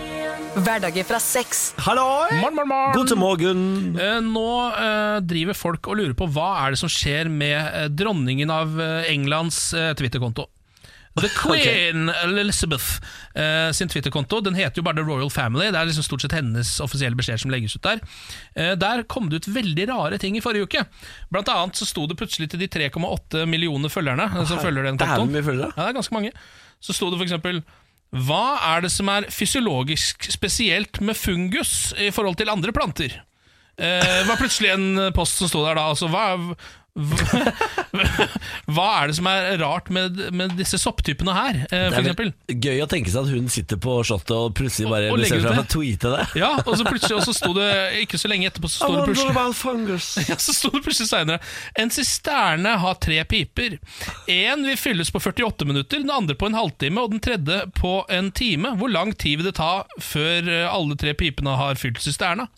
Hverdager fra seks.
Halloi!
morgen, morgen, morgen.
God til morgen.
Eh, Nå eh, driver folk og lurer på hva er det som skjer med eh, dronningen av eh, Englands eh, Twitter-konto. The Queen Elizabeth eh, sin Twitter-konto. Den heter jo bare The Royal Family. Det er liksom stort sett hennes offisielle beskjeder som legges ut der. Eh, der kom det ut veldig rare ting i forrige uke. Blant annet så sto det plutselig til de 3,8 millioner følgerne eh, som følger den
Dæven,
kontoen.
mye følgere.
Ja, det er ganske mange. Så sto det for eksempel Hva er det som er fysiologisk spesielt med fungus i forhold til andre planter? Eh, Det var plutselig en post som sto der da. Altså, hva, hva, (laughs) hva er det som er rart med, med disse sopptypene her, eh, for
Det er vel
eksempel?
Gøy å tenke seg at hun sitter på slottet og plutselig bare
og legger
bestemmer seg
ut
for å tweete det.
Ja, og så plutselig og så sto det ikke så lenge etterpå så sto det plutselig
about fungus.
(laughs) Ja, så sto det plutselig senere En sisterne har tre piper. Én vil fylles på 48 minutter, den andre på en halvtime og den tredje på en time. Hvor lang tid vil det ta før eh, alle tre pipene har fylt sisterna?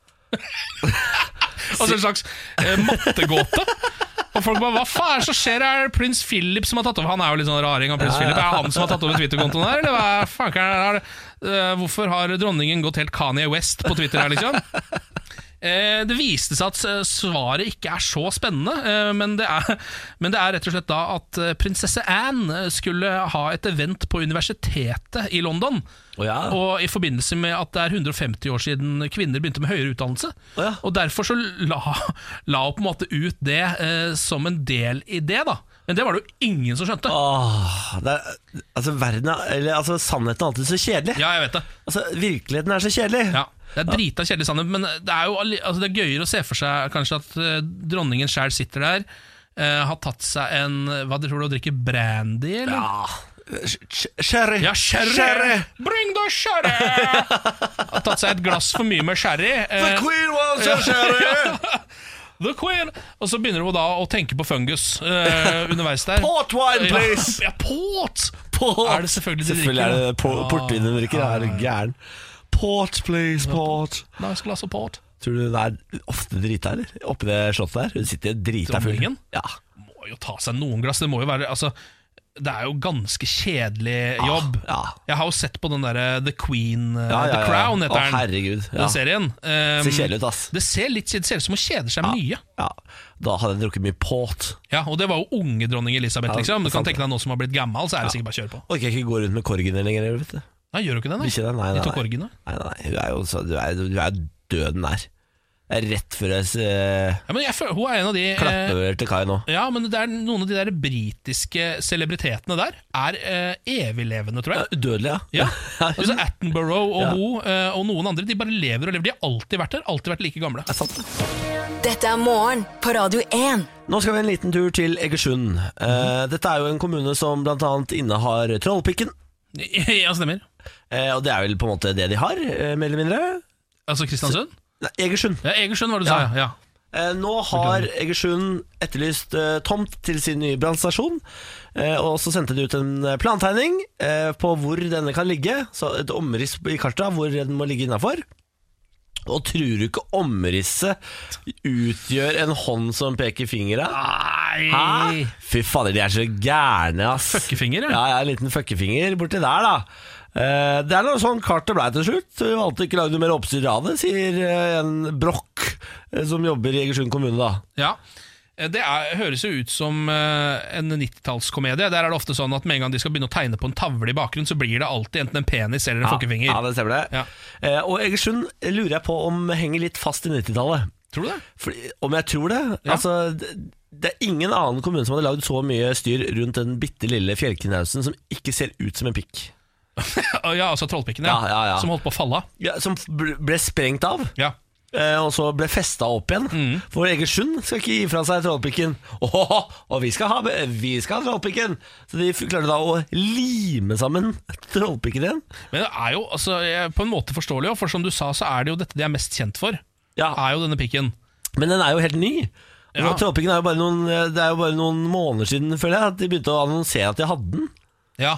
altså en slags eh, mattegåte. Og folk bare, Hva faen er det som skjer? Er det prins Philip som har tatt over? Han er jo litt sånn raring av prins Philip. Er det han som har tatt over Twitter-kontoen her? Eller hva er- faen er det? Eh, hvorfor har dronningen gått helt Kanye West på Twitter her, liksom? Eh, Det viste seg at eh, svaret ikke er så spennende, eh, men det er, men det er rett og slett da at eh, prinsesse Anne eh, skulle ha et event på universitetet i London.
Å ja.
Og i forbindelse med at det er 150 år siden kvinner begynte med høyere utdannelse.
Å ja.
Og derfor så la, la hun på en måte ut det eh, som en del i det, da. Men det var det jo ingen som
(laughs)
skjønte.
Åh, det er, altså, verden er, eller, altså, sannheten er alltid så kjedelig.
Ja, jeg vet det.
Altså, virkeligheten er så kjedelig.
Ja, Det er drita kjedelig sannhet, men det er jo alli- altså det er gøyere å se for seg kanskje at eh, dronningen sjæl sitter der, eh, har tatt seg en Hva tror du, å drikke brandy, eller?
Ah, sh- Sherry.
Ja, sherry! Bring the
(laughs)
sherry! Har tatt seg et glass for mye med sherry.
The
eh,
queen wants a
(laughs)
sherry!
the queen! Og så begynner hun da å tenke på fungus
(laughs)
eh, underveis der.
Port wine, please!
Ja, ja, port!
(laughs) Port.
Er det selvfølgelig de
Selvfølgelig er
drikker, da?
det po- portvin hun drikker. Er du gæren? Port, please, port.
Nei, jeg skulle ha support.
Tror du hun er ofte drita, eller? Oppi det slottet der? Hun sitter drita full.
Dronningen?
Ja.
Må jo ta seg noen glass. Det må jo være altså, Det er jo ganske kjedelig jobb.
Ah, ja.
Jeg har jo sett på den derre The Queen
Ja,
eh,
ja, ja.
The Crown,
Å,
heter den.
herregud,
Den
ja.
serien. Um,
Ser kjedelig ut, ass.
Det ser litt det ser ut som hun kjeder seg mye.
Ja. Da hadde jeg drukket mye port.
Ja, Og det var jo unge dronning Elisabeth.
Ja,
liksom Du kan
sant.
tenke deg nå som har blitt gammel, så er det sikkert bare å kjøre på.
Orker jeg ikke gå rundt med korgen lenger, vet du.
Nei, gjør du ikke det, nei?
Ikke det? Nei,
De
nei,
tok
nei.
orgene.
Nei, nei, hun er jo så, du, er, du er døden nær. Det er rett før jeg eh,
Ja, men jeg føler, hun er en av de eh,
klapper over til kai nå.
Ja, men det er noen av de der britiske celebritetene der er eh, eviglevende, tror jeg.
Udødelig, (laughs) ja.
Ja,
hun-
altså Attenborough og
Ja.
hun eh, og noen andre De bare lever og lever. De har alltid vært der, alltid vært like gamle.
Det er sant, det.
Dette er morgen på Radio 1.
Nå skal vi en liten tur til Egersund. Eh, dette er jo en kommune som bl.a. innehar Trollpikken.
ja, stemmer.
Eh, og det er vel på en måte det de har, eh, mer eller mindre.
Altså Kristiansund?
Nei, Egersund.
Ja, Egersund var det du
Ja.
sa, ja. ja.
Eh, nå har Egersund etterlyst eh, tomt til sin nye brannstasjon. Eh, og så sendte de ut en eh, plantegning eh, på hvor denne kan ligge. Så et omriss i kartet av hvor den må ligge innafor. Og tror du ikke omrisset utgjør en hånd som peker fingeren? Hæ?
Nei
Fy fader, de er så gærne, ass.
Ah! Fuckefinger, ja.
ja. Ja, en liten fuckefinger borti der, da. Eh, det er noe sånn kartet blei til slutt. Vi valgte ikke å lage noe mer oppstyr av det, sier eh, en brokk eh, som jobber i Egersund kommune, da.
Ja. Eh, Det er, høres jo ut som eh, en 90-tallskomedie. Der er det ofte sånn at med en gang de skal begynne å tegne på en tavle i bakgrunnen, så blir det alltid enten en penis eller en fuckefinger.
Ja, det stemmer det.
Ja.
Eh, og Egersund lurer jeg på om henger litt fast i 90-tallet.
Tror du det?
Fordi- Om jeg tror det?
Ja.
Altså, det, det er ingen annen kommune som hadde lagd så mye styr rundt den bitte lille fjellknausen som ikke ser ut som en pikk.
ja, altså trollpikken, ja.
Ja, ja, ja.
Som holdt på å falle av.
Ja, som ble ble sprengt av,
Ja.
eh, og så ble festa opp igjen. For Egersund skal ikke gi fra seg trollpikken. Åhåhå, og vi skal ha, vi skal ha trollpikken! Så de f- klarte da å lime sammen (laughs) trollpikken igjen.
Men det er jo altså, jeg- på en måte forståelig, også, for som du sa, så er det jo dette de er mest kjent for.
Ja.
Er jo denne pikken.
Men den er jo helt ny.
Ah. Ja.
Ja. Trollpikken er jo bare noen, eh, det er jo bare noen måneder siden, føler jeg, at de begynte å annonsere at de hadde den.
Ja.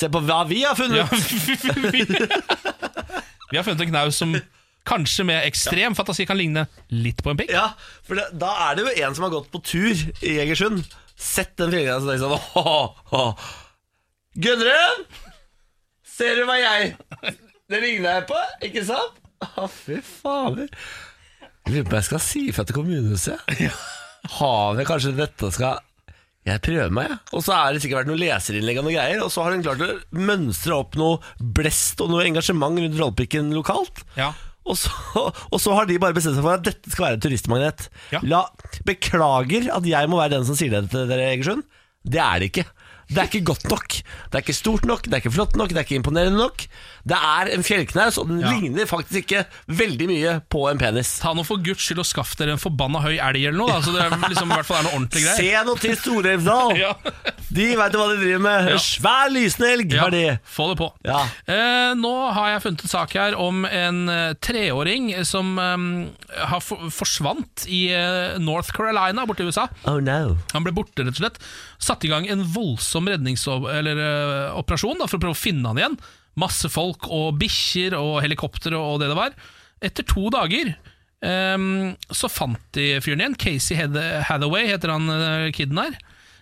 Se på hva vi har funnet!
ja. (laughs) Vi har funnet en knaus som kanskje med ekstrem fantasi kan ligne litt på en pikk.
(laughs) Ja, for det, da er det jo en som har gått på tur i Egersund Sett den fjellgreia og tenkt sånn (laughs) «Åh, åh, åh. Gudrun! Ser du hva jeg Det ligner jeg på, ikke sant? Å, fy fader. Jeg lurer på om jeg skal si ifra til kommunehuset. Har vi kanskje dette skal Jeg prøver meg, jeg. Og så har det sikkert vært noen leserinnlegg og noen greier, og så har hun klart å mønstre opp noe blest og noe engasjement rundt rollpikken lokalt.
Ja.
Og så, og så har de bare bestemt seg for at dette skal være en turistmagnet.
Ja.
La, beklager at jeg må være den som sier det til dere, Egersund. Det er det ikke. Det er ikke godt nok. Det er ikke stort nok, det er ikke flott nok, det er ikke imponerende nok. Det er en fjellknaus, og den
Ja.
ligner faktisk ikke veldig mye på en penis.
Ta nå for guds skyld og skaff dere en forbanna høy elg eller noe, da, så det er liksom, i hvert fall er noe ordentlig
Se
greier.
nå til Storelvdal!
(laughs) Ja.
De veit jo hva de driver med.
Ja.
En svær lysende elg
Ja,
har de.
få det på.
Ja.
Eh, nå har jeg funnet en sak her om en eh, treåring som eh, har for forsvant i eh, North Carolina borte i USA.
Oh no.
Han ble borte, rett og slett. Satte i gang en voldsom redningsoperasjon eh, for å prøve å finne han igjen. Masse folk og bikkjer og helikopter og det det var. Etter to dager ehm, så fant de fyren igjen. Casey Hath- Hathaway heter han eh, kiden her.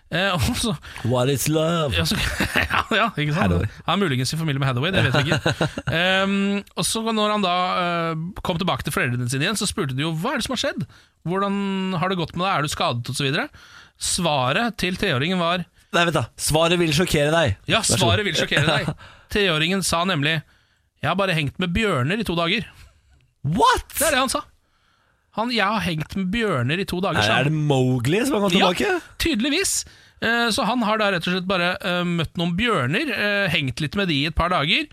Eh, (laughs) og så,
What is love?
ja, så, (laughs) ja, ja, ikke sant?
Hathaway.
Han er muligens i familie med Hathaway, det vet jeg
(laughs)
ikke. Ehm, og så når han da eh, kom tilbake til foreldrene sine igjen, så spurte de jo hva er det som har skjedd? Hvordan har det gått med deg? Er du skadet? Og så videre. Svaret til treåringen var
Nei, vent, da. Svaret vil sjokkere deg.
ja,
Vær så god.
svaret vil sjokkere
(laughs)
deg. Treåringen sa nemlig jeg har bare hengt med bjørner i to dager.
What?!
Det er det han sa. Han, jeg har hengt med bjørner i to dager. sa han.
Er det Mowgli som har gått tilbake?
Ja, tydeligvis. Eh, Så han har da rett og slett bare eh, møtt noen bjørner, eh, hengt litt med de i et par dager,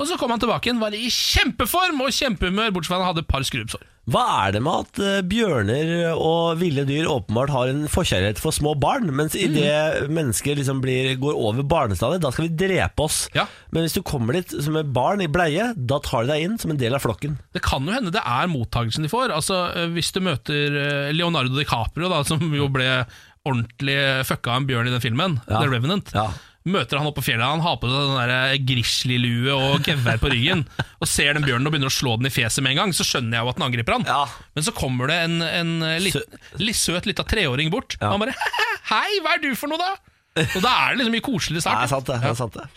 og så kom han tilbake igjen, var i kjempeform og kjempehumør, bortsett fra at han hadde et par skrubbsår.
Hva er det med at eh, bjørner og ville dyr åpenbart har en forkjærlighet for små barn, mens
Mm.
idet mennesker liksom blir, går over barnestadiet, da skal vi drepe oss.
Ja.
Men hvis du kommer dit som et barn i bleie, da tar de deg inn som en del av flokken.
Det kan jo hende det er mottagelsen de får. Altså, eh, Hvis du møter eh, Leonardo DiCaprio, da, som jo ble ordentlig fucka av en bjørn i den filmen,
Ja.
The Revenant.
Ja.
møter han oppe på fjellet. Han har på seg sånn der grizzlylue og gevær på
(laughs)
ryggen. Og ser den bjørnen og begynner å slå den i fjeset med en gang. Så skjønner jeg jo at den angriper han.
Ja.
Men så kommer det en, en litt, litt søt lita treåring bort. Og han bare (laughs) Hei, hva er du for noe, da? Og da er det liksom mye
(laughs) Det
koseligere start.
er sant, det. det,
Ja.
er sant det.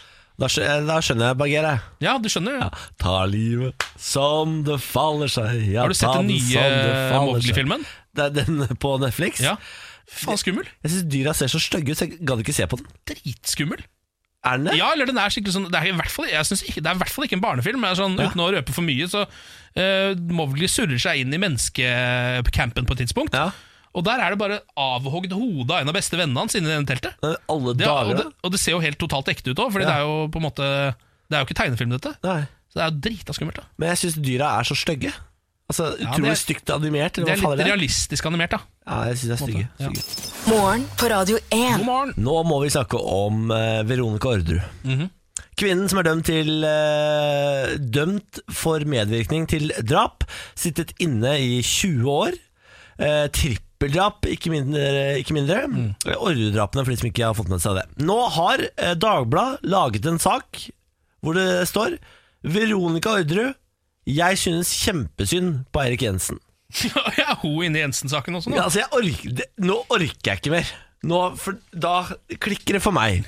Da, skjø- eh, da skjønner jeg Bagheera. jeg.
Ja, du skjønner. det.
Ta livet som det faller seg. Ja,
Har du sett
ta
den nye
som det faller
Mowgli-filmen?
seg. Det er den (laughs) på Netflix?
Ja. Faen, skummel.
Jeg syns dyra ser så stygge ut, så jeg gadd ikke se på den.
Dritskummel.
Er den det?
Ja, eller den er skikkelig sånn Det er i hvert fall, jeg synes ikke, det er i hvert fall ikke en barnefilm. Men det er sånn, Uten å røpe for mye, så uh, Mowgli surrer seg inn i menneskecampen på et tidspunkt.
Ja.
Og der er det bare avhogd hode av en av beste vennene hans inni denne teltet.
Men Alle
Det, og,
dager,
det,
da?
og det ser jo helt totalt ekte ut òg, Fordi
Ja.
det er jo på en måte Det er jo ikke tegnefilm, dette.
Nei.
Så det er jo drita skummelt. da
Men jeg syns dyra er så stygge. Altså,
det
Utrolig
er-
stygt animert.
Det
Eller
er
hva faen
litt
er det?
realistisk animert, da.
Ja, jeg syns det er stygge.
Ja.
stygge.
Morgen på Radio 1.
God morgen! (laughs)
Nå må vi snakke om eh, Veronica Orderud.
Mhm.
Kvinnen som er dømt, til, eh, dømt for medvirkning til drap, sittet inne i 20 år. Eh, trippeldrap, ikke mindre. Ikke mindre.
Mm.
Orderud-drapene, for de som ikke har fått med seg det. Nå har eh, Dagbladet laget en sak hvor det står Veronica Orderud, jeg synes kjempesynd på Eirik Jensen.
er hun inne i Jensen-saken også nå?
Ja, altså jeg ork, det, nå orker jeg ikke mer. Nå, for da klikker det for meg.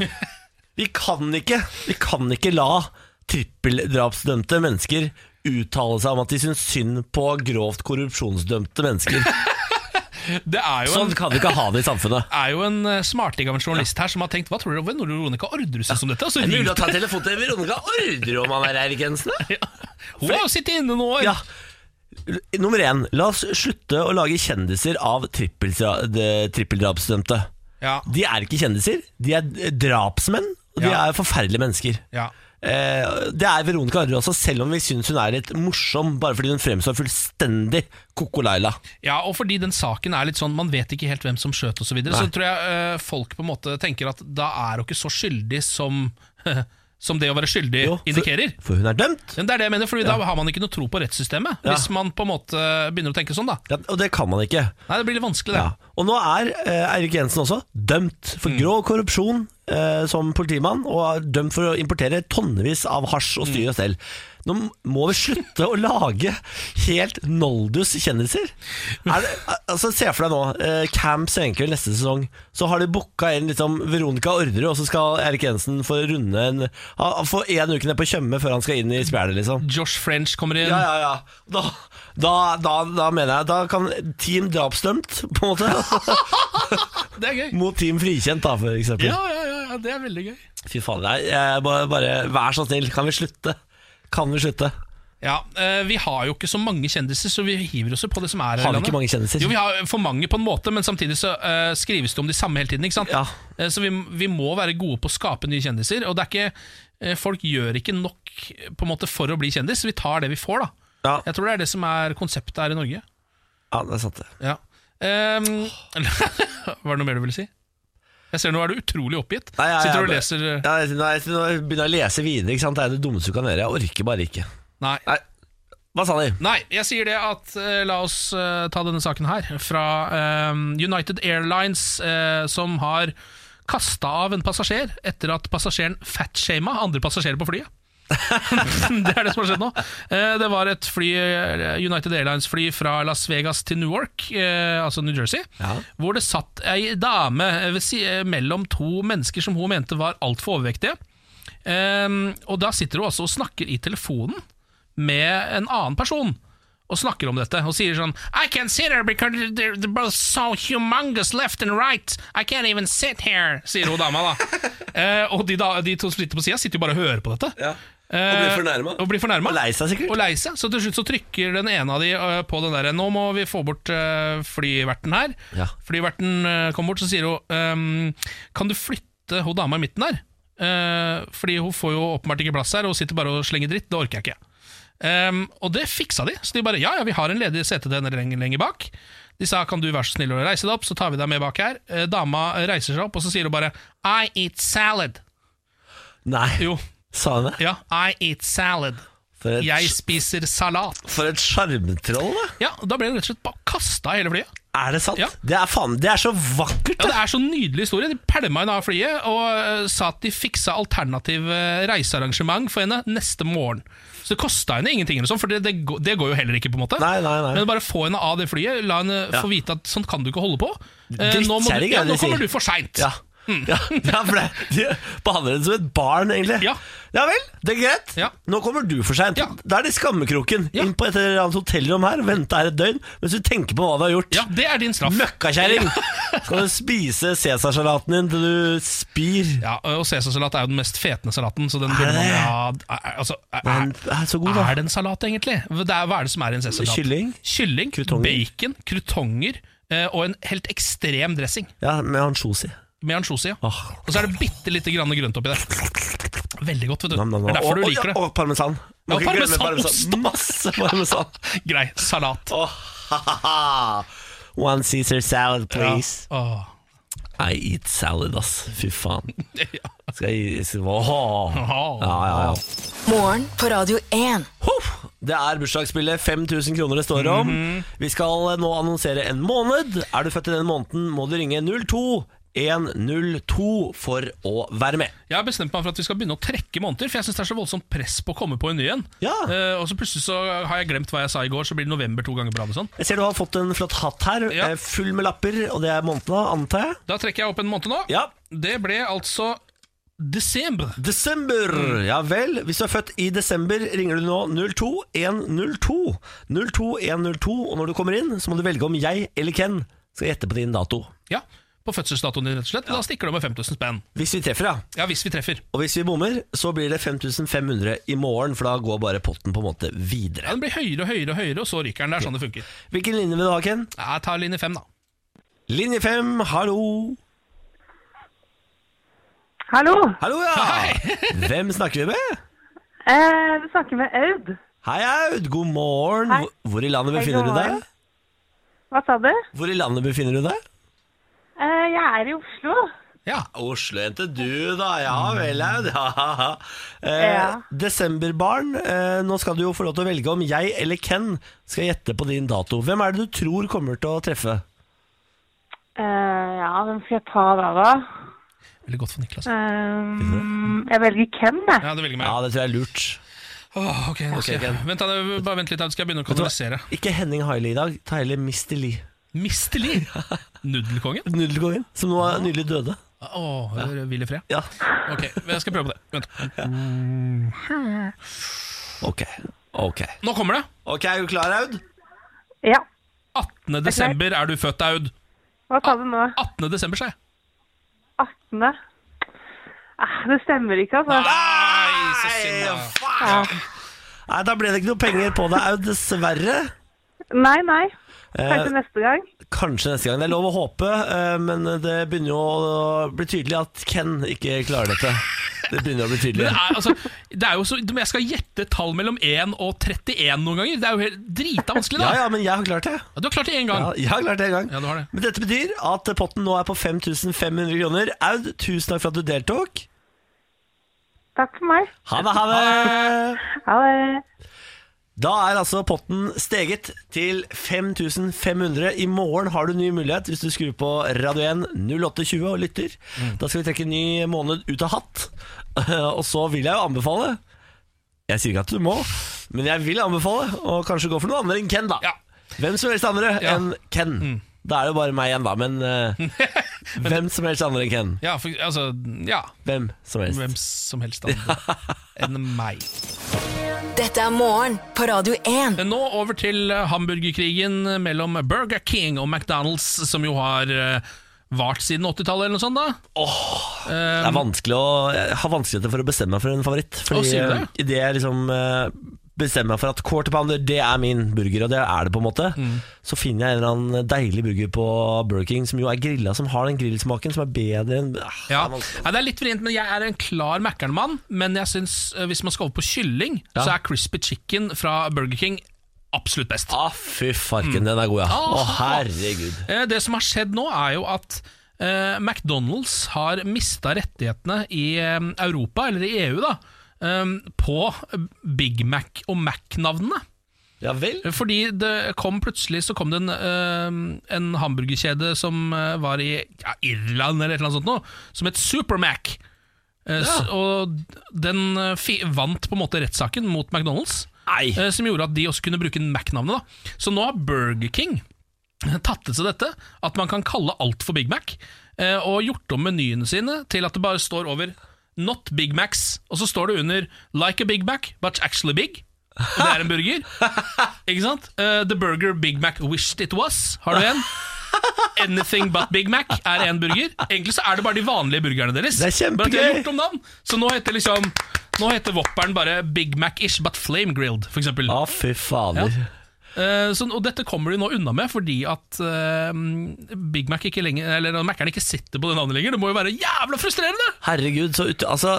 Vi kan ikke, vi kan ikke la trippeldrapsdømte mennesker uttale seg om at de syns synd på grovt korrupsjonsdømte (laughs) mennesker.
Det er jo en,
Sånn kan vi ikke ha det i samfunnet.
er jo en eh, smarting av en journalist her som har tenkt Hva tror dere om Veronica Orderud synes om dette? Altså,
Er
Og så
det mulig å
ringte
ta en telefon til Veronica Orderud om han er Eirik Jensen? da?
Hun har jo sittet inne nå.
Ja. Nummer én, la oss slutte å lage kjendiser av trippelsra- de- trippeldrapsdømte.
Ja,
De er ikke kjendiser, de er eh, drapsmenn, og de
Ja.
er forferdelige mennesker.
ja.
Eh, det er Veronica Arre også, selv om vi syns hun er litt morsom, bare fordi hun fremstår fullstendig Koko Laila.
ja, og fordi den saken er litt sånn man vet ikke helt hvem som skjøt osv., så, videre, så tror jeg eh, folk på en måte tenker at da er hun ikke så skyldig som, (laughs) som det å være skyldig
Jo, for-
indikerer.
For hun er dømt.
Men det er det jeg mener, fordi da har man ikke noe tro på rettssystemet. Hvis man på en måte begynner å tenke sånn, da.
Ja, og det kan man ikke.
Nei, det blir litt vanskelig, det.
Ja. Og nå er eh, Eirik Jensen også dømt for grov korrupsjon eh, som politimann, og er dømt for å importere tonnevis av hasj og styre og stell. Nå må vi slutte å lage helt noldus kjendiser. Er det, altså, se for deg nå, eh, Camp Senkveld neste sesong, så har de booka inn liksom Veronica Orderud, og så skal Eirik Jensen få runde en ha- Få én uke ned på Tjøme før han skal inn i spjælet, liksom.
Josh French kommer inn.
Ja, ja, ja. Da, da, da, da mener jeg Da kan Team Drapsdømt, på en måte. (laughs)
Det er gøy.
Mot Team Frikjent, da, for eksempel.
Ja, ja, ja, ja, det er veldig gøy.
Fy faen, nei, jeg bare, bare Vær så snill, kan vi slutte? Kan vi slutte?
Ja, eh, Vi har jo ikke så mange kjendiser, så vi hiver oss jo på det som er. her i
Har vi
landet.
ikke mange kjendiser?
Jo, Vi har for mange på en måte, men samtidig så eh, skrives det om de samme hele tiden. ikke sant?
Ja.
Eh, så vi, vi må være gode på å skape nye kjendiser. Og det er ikke, eh, folk gjør ikke nok eh, på en måte for å bli kjendis, vi tar det vi får. da.
Ja,
Jeg tror det er det som er konseptet her i Norge.
ja det er sant, det.
Ja. Um, (laughs) var det noe mer du ville si? Jeg ser Nå er du utrolig oppgitt.
Nei, jeg-
Sitter du og
jeg-
leser eh,
Ja, jeg- nå er jeg- nå begynner jeg å lese videre. ikke sant? Det er det dummeste du kan gjøre. Jeg orker bare ikke.
Nei.
Nei, Hva sa de?
Nei, jeg sier det at eh, la oss eh, ta denne saken her fra eh, United Airlines, eh, som har kasta av en passasjer etter at passasjeren fatshama andre passasjerer på flyet. (laughs) det er det som har skjedd nå. Eh, Det var et fly, eh, United Airlines-fly fra Las Vegas til Newark, eh, altså New Jersey,
Ja.
hvor det satt ei dame eh, ved si- eh, mellom to mennesker som hun mente var altfor overvektige. Eh, Og da sitter hun også og snakker i telefonen med en annen person. Og snakker om dette og sier sånn I can't sit here because they're, they're both so humongous left and right. I can't even sit here, sier
(laughs)
hun dama, da. Eh, og de, da, de to som sitter på sida, sitter jo bare og hører på dette.
Og blir
Eh,
fornærma.
Og blir fornærma.
Og lei seg, sikkert.
Og lei seg. Så til slutt så trykker den ene av de eh, på den derre 'Nå må vi få bort eh, flyverten her'.
Ja.
Flyverten eh, kommer bort, så sier hun ehm, 'Kan du flytte hun dama i midten der?' Eh, fordi hun får jo åpenbart ikke plass her, og hun sitter bare og slenger dritt. Det orker jeg ikke. Ehm, og det fiksa de. Så de bare 'Ja, ja, vi har en ledig sete til henne lenger, lenger bak'. De sa 'Kan du være så snill å reise deg opp, så tar vi deg med bak her'. Eh, dama reiser seg opp, og så sier hun bare 'I eat salad'.
Nei,
Jo,
sa hun det?
ja, I eat salad.
For et,
Jeg spiser salat.
for et sjarmtroll, da!
Ja, Da ble det rett og slett bare kasta hele flyet.
Er det sant?
Ja.
Det er faen, det er så vakkert!
Ja, Det er så nydelig historie. De pælma henne av flyet og eh, sa at de fiksa alternativ eh, reisearrangement for henne neste morgen. Så det kosta henne ingenting, eller sånn, for det, det, går- det går jo heller ikke. på en måte
Nei, nei, nei.
Men bare få henne av det flyet, la henne få vite at sånn kan du ikke holde på. Eh, nå, må du,
Drittkjerring,
ja,
er det de
nå kommer
sier.
du for seint.
Ja.
Hmm.
Ja, ja, for det, de behandler henne som et barn, egentlig.
Ja.
vel, det er greit.
Ja.
Nå kommer du for seint.
Ja.
Da er det skammekroken.
Ja.
Inn på et eller annet hotellrom her, vente her et døgn mens du tenker på hva du har gjort.
Ja, det er din straff.
Møkkakjerring! Skal du spise Cæsarsalaten din til du spyr?
Ja, og Cæsarsalat er jo den mest fetende salaten. Så den burde
det
man,
det?
ja, er, altså, er,
Den er så god, da.
er det en salat, egentlig? Det er, hva er det som er i en Cæsarsalat?
Kylling?
Kylling,
Krutonger?
bacon, krutonger eh, og en helt ekstrem dressing.
Ja, med ansjosi.
Med ansjosi. Ja.
Åh.
Og så er det bitte lite grann grønt oppi der. Veldig godt, vet du.
Nam, nam, nam.
Det er derfor
Og-
du
og-
liker det.
Og parmesan.
Ja,
Må ikke glemme
parmesanost.
parmesan. Masse parmesan.
Grei salat.
Åh, ha-ha-ha. One Caesar salad, please.
Åh.
I eat salad, ass. Fy faen.
Ja.
Skal jeg skal, åh. Ja, ja, ja.
Morgen på Radio 1.
Huh! Det er bursdagsspillet 5000 kroner det står om. Vi skal nå annonsere en måned. Er du født i den måneden, må du ringe 02102 for å være med.
Jeg har bestemt meg for at vi skal begynne å trekke måneder, for jeg syns det er så voldsomt press på å komme på en ny en.
Ja.
Eh, og så plutselig så har jeg glemt hva jeg sa i går, så blir det november to ganger på rad. og sånn.
Jeg ser du har fått en flott hatt her,
Ja.
eh, full med lapper, og det er måneden, antar jeg?
Da trekker jeg opp en måned nå.
Ja.
Det ble altså desember.
Desember! Ja vel. Hvis du er født i desember, ringer du nå 02102. 02102, og når du kommer inn, så må du velge om jeg eller Ken skal gjette på din dato.
Ja, På fødselsdatoen din, rett og slett. Da stikker det med 5000 spenn.
Hvis vi treffer, ja.
Ja, hvis vi treffer.
Og hvis vi bommer, så blir det 5500 i morgen, for da går bare potten på en måte
Ja,
videre.
Den blir høyere og høyere, og høyere, og så ryker den. Det er sånn det funker.
Hvilken linje vil du ha, Ken?
Jeg tar linje fem, da.
Linje 5, hallo.
Hallo,
Hallo, ja. (laughs) Hvem snakker vi med?
eh, du snakker med Aud.
Hei, Aud. God morgen.
Hei.
Hvor- Hvor i landet
Hei,
befinner
god
du
morgen.
deg?
Hva sa du?
Hvor i landet befinner du deg?
Eh, jeg er i Oslo.
Ja.
Oslojente du, da. Ja vel, Aud. Ha, ha, ha.
Ja.
Eh, desemberbarn, eh, nå skal du jo få lov til å velge om jeg eller Ken skal gjette på din dato. Hvem er det du tror kommer til å treffe?
Eh, ja, hvem skal jeg ta da, da?
Veldig godt for Niklas.
Eh, jeg velger Ken, jeg.
Ja, det velger meg.
Ja, det tror jeg er lurt.
Åh, ok, nå skal jeg Vent, da, det- bare vent litt, da skal jeg begynne å kanalisere.
Ikke Henning Haile i dag, ta heller Mr. Lee.
Mistelig!
(laughs)
Nudelkongen?
Nudelkongen, som nå er nylig døde.
Åh, hvil i fred.
Ja,
Ok, jeg skal prøve på det. Vent.
ok. Ok,
Nå kommer det!
Ok, er du klar, Aud?
Ja.
18. desember er du født, Aud.
Hva sa du nå?
18. desember, sa jeg.
18. Eh, det stemmer ikke, altså.
Nei, så synd, da.
faen! Nei, da ble det ikke noe penger på deg, Aud, dessverre.
Nei, nei.
Eh,
Kanskje neste gang.
Kanskje neste gang. Det er lov å håpe, eh, men det begynner jo å bli tydelig at Ken ikke klarer dette. Det begynner å bli
Men
tydelig.
det er, altså, det er jo så, men jeg skal gjette et tall mellom 1 og 31 noen ganger. Det er jo helt drita vanskelig, da.
Ja, ja, men jeg har klart det.
Ja, Du har klart det én gang.
Ja, jeg har klart det en gang.
Ja, du har det.
Men dette betyr at potten nå er på 5500 kroner. Aud, tusen takk for at du deltok.
Takk for meg.
Ha det, ha det!
Ha det.
Da er altså potten steget til 5500. I morgen har du ny mulighet hvis du skrur på Radio 1 0820 og lytter.
Mm.
Da skal vi trekke en ny måned ut av hatt. (laughs) Og så vil jeg jo anbefale Jeg sier ikke at du må, men jeg vil anbefale å kanskje gå for noen andre enn Ken, da.
Ja.
Hvem som helst andre
Ja. Mm.
enn Ken. Da er det jo bare meg igjen, da. Men
(laughs)
eh, hvem som helst andre enn Ken.
Ja, for, altså, ja.
Hvem som helst.
Hvem som helst andre enn meg.
Dette er morgen på Radio 1.
Nå over til eh, hamburgerkrigen mellom Burger King og McDonald's, som jo har eh, vart siden 80-tallet eller noe sånt. da
Det er vanskelig å, jeg har vanskeligheter for å bestemme meg for en favoritt. Fordi
Um, Å, sier du det?
eh, idet jeg liksom eh, bestemmer meg for at quarter pounder det er min burger, og det er det på en måte,
Mm.
så finner jeg en eller annen deilig burger på Burger King som jo er grilla, som har den grillsmaken som er bedre enn ah,
Ja.
det er vanskelig.
Nei, det er litt vrient, men jeg er en klar Mækkern-mann. Men jeg synes, eh, hvis man skal over på kylling, så er crispy chicken fra Burger King absolutt best.
Ah, fy farken,
Mm.
den er god, ja.
Ah.
Å, herregud.
Eh, Det som har skjedd nå er jo at eh, McDonald's har mista rettighetene i eh, E Europa, eller i EU, da, eh, på Big Mac og Mac-navnene.
Ja vel?
Fordi det kom plutselig så kom det en, eh, en hamburgerkjede som eh, var i ja, Irland eller et eller annet sånt nå, som het Supermac. Eh, s- Og den eh, fi- vant på en måte rettssaken mot McDonald's,
Nei.
eh, som gjorde at de også kunne bruke Mac-navnet. da. Så nå har Burger King tatt til seg dette, at man kan kalle alt for Big Mac, eh, og gjort om menyene sine til at det bare står over Not Big Macs, og så står det under Like a Big Mac, but actually big. Og det er en
(laughs)
burger. Ikke sant? Eh, the Burger Big Mac Wished It Was, har
(laughs)
du en? Anything But Big Mac er en burger. Egentlig så er det bare de vanlige burgerne deres.
Det er kjempegøy.
Men de har gjort om navn, så nå heter liksom Nå heter Whopperen bare Big Mac-ish, but flame grilled, for eksempel.
Å, Ah, fy fader.
Ja. Eh, så, og dette kommer de nå unna med fordi at eh, Big Mac ikke lenger Eller Mac-eren ikke sitter på det navnet lenger. Det må jo være jævla frustrerende!
Herregud, så ut, altså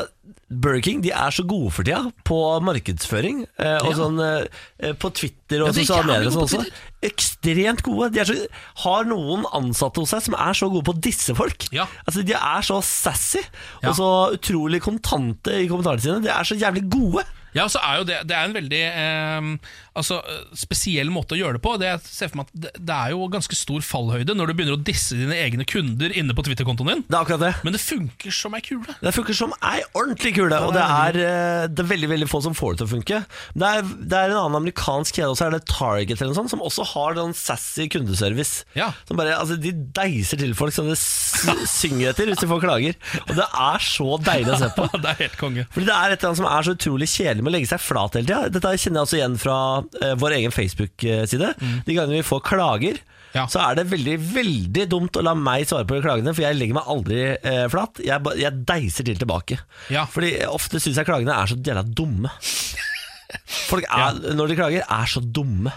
Burger King de er så gode for tida på markedsføring. Eh, og
Ja.
sånn eh, På Twitter og
Ja, de er
sosiale medier.
jævlig
og sånn
gode på
også Ekstremt gode. De er så, har noen ansatte hos seg som er så gode på å disse folk.
Ja.
Altså De er så sassy
Ja.
og så utrolig kontante i kommentarene sine. De er så jævlig gode.
Ja, så er jo det, det er en veldig eh, altså, eh, spesiell måte å gjøre det på. Det, jeg ser for meg at det, det er jo ganske stor fallhøyde når du begynner å disse dine egne kunder inne på Twitter-kontoen din.
Det er akkurat det.
Men det funker som ei kule.
Det funker som ei ordentlig kule, og det er, eh, det er veldig veldig få som får det til å funke. Det er, det er en annen amerikansk kjede også, er det Target eller noe sånt, som også har sånn sassy kundeservice.
Ja.
Som bare, altså, de deiser til folk som det s- synger etter hvis de får klager. Og det er så deilig å se på.
det er helt konge.
Fordi det er et eller annet som er så utrolig kjedelig med å legge seg flat hele tida. Dette kjenner jeg også igjen fra eh, vår egen Facebook-side. De gangene vi får klager,
Mm. Ja.
så er det veldig veldig dumt å la meg svare på de klagene, for jeg legger meg aldri eh, flat. Jeg, ba- jeg deiser til tilbake.
Ja.
Fordi ofte syns jeg klagene er så jævla dumme. Folk er, når de klager, er så dumme.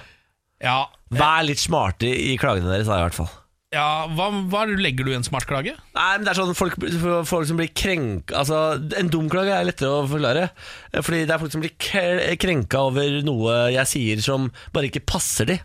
Ja,
Vær litt smarte i klagene deres, da, i hvert fall.
ja hva, hva legger du i en smart klage?
Nei, men det er sånn folk, folk som blir krenka Altså, en dum klage er lettere å forklare eh, Fordi det er folk som blir kre- krenka over noe jeg sier som bare ikke passer de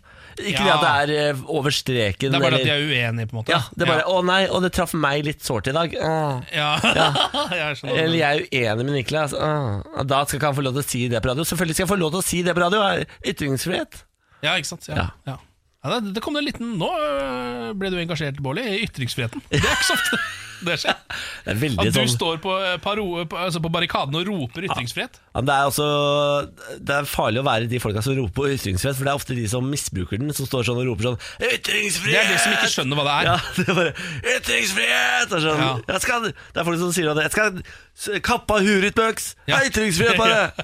Ikke det
Ja.
at det er eh, over streken
Det er bare at de
eller-
er uenige, på en måte.
Ja, det er bare, å nei, og det traff meg litt sårt i dag Åh. (laughs)
Ja, (laughs) jeg skjønner.
Eller jeg er uenig med Niklas Åh. Da skal ikke han få lov til å si det på radio Selvfølgelig skal jeg få lov til å si det på radio det er Ytringsfrihet
Ja, ikke sant? Ja.
Ja.
Ja. Ja, det, det kom det en liten Nå øh, ble du engasjert, Bårli, i ytringsfriheten. Det er ikke så ofte (laughs) det skjer.
(laughs) Det er veldig
At du
sånn
står på, øh, paro, på- altså på barrikaden og roper ytringsfrihet.
Ja, men det, er også, det er farlig å være de folka som roper på ytringsfrihet, for det er ofte de som misbruker den, som står sånn og roper sånn
Det
Ytringsfrihet!
er de som ikke skjønner hva det er.
Ja, det er bare Ytringsfrihet! Det er, sånn,
Ja.
jeg skal, det er folk som sier at jeg skal s- kappe av huet ditt, Bøks!
Ja.
Ja. Ytringsfrihet, bare!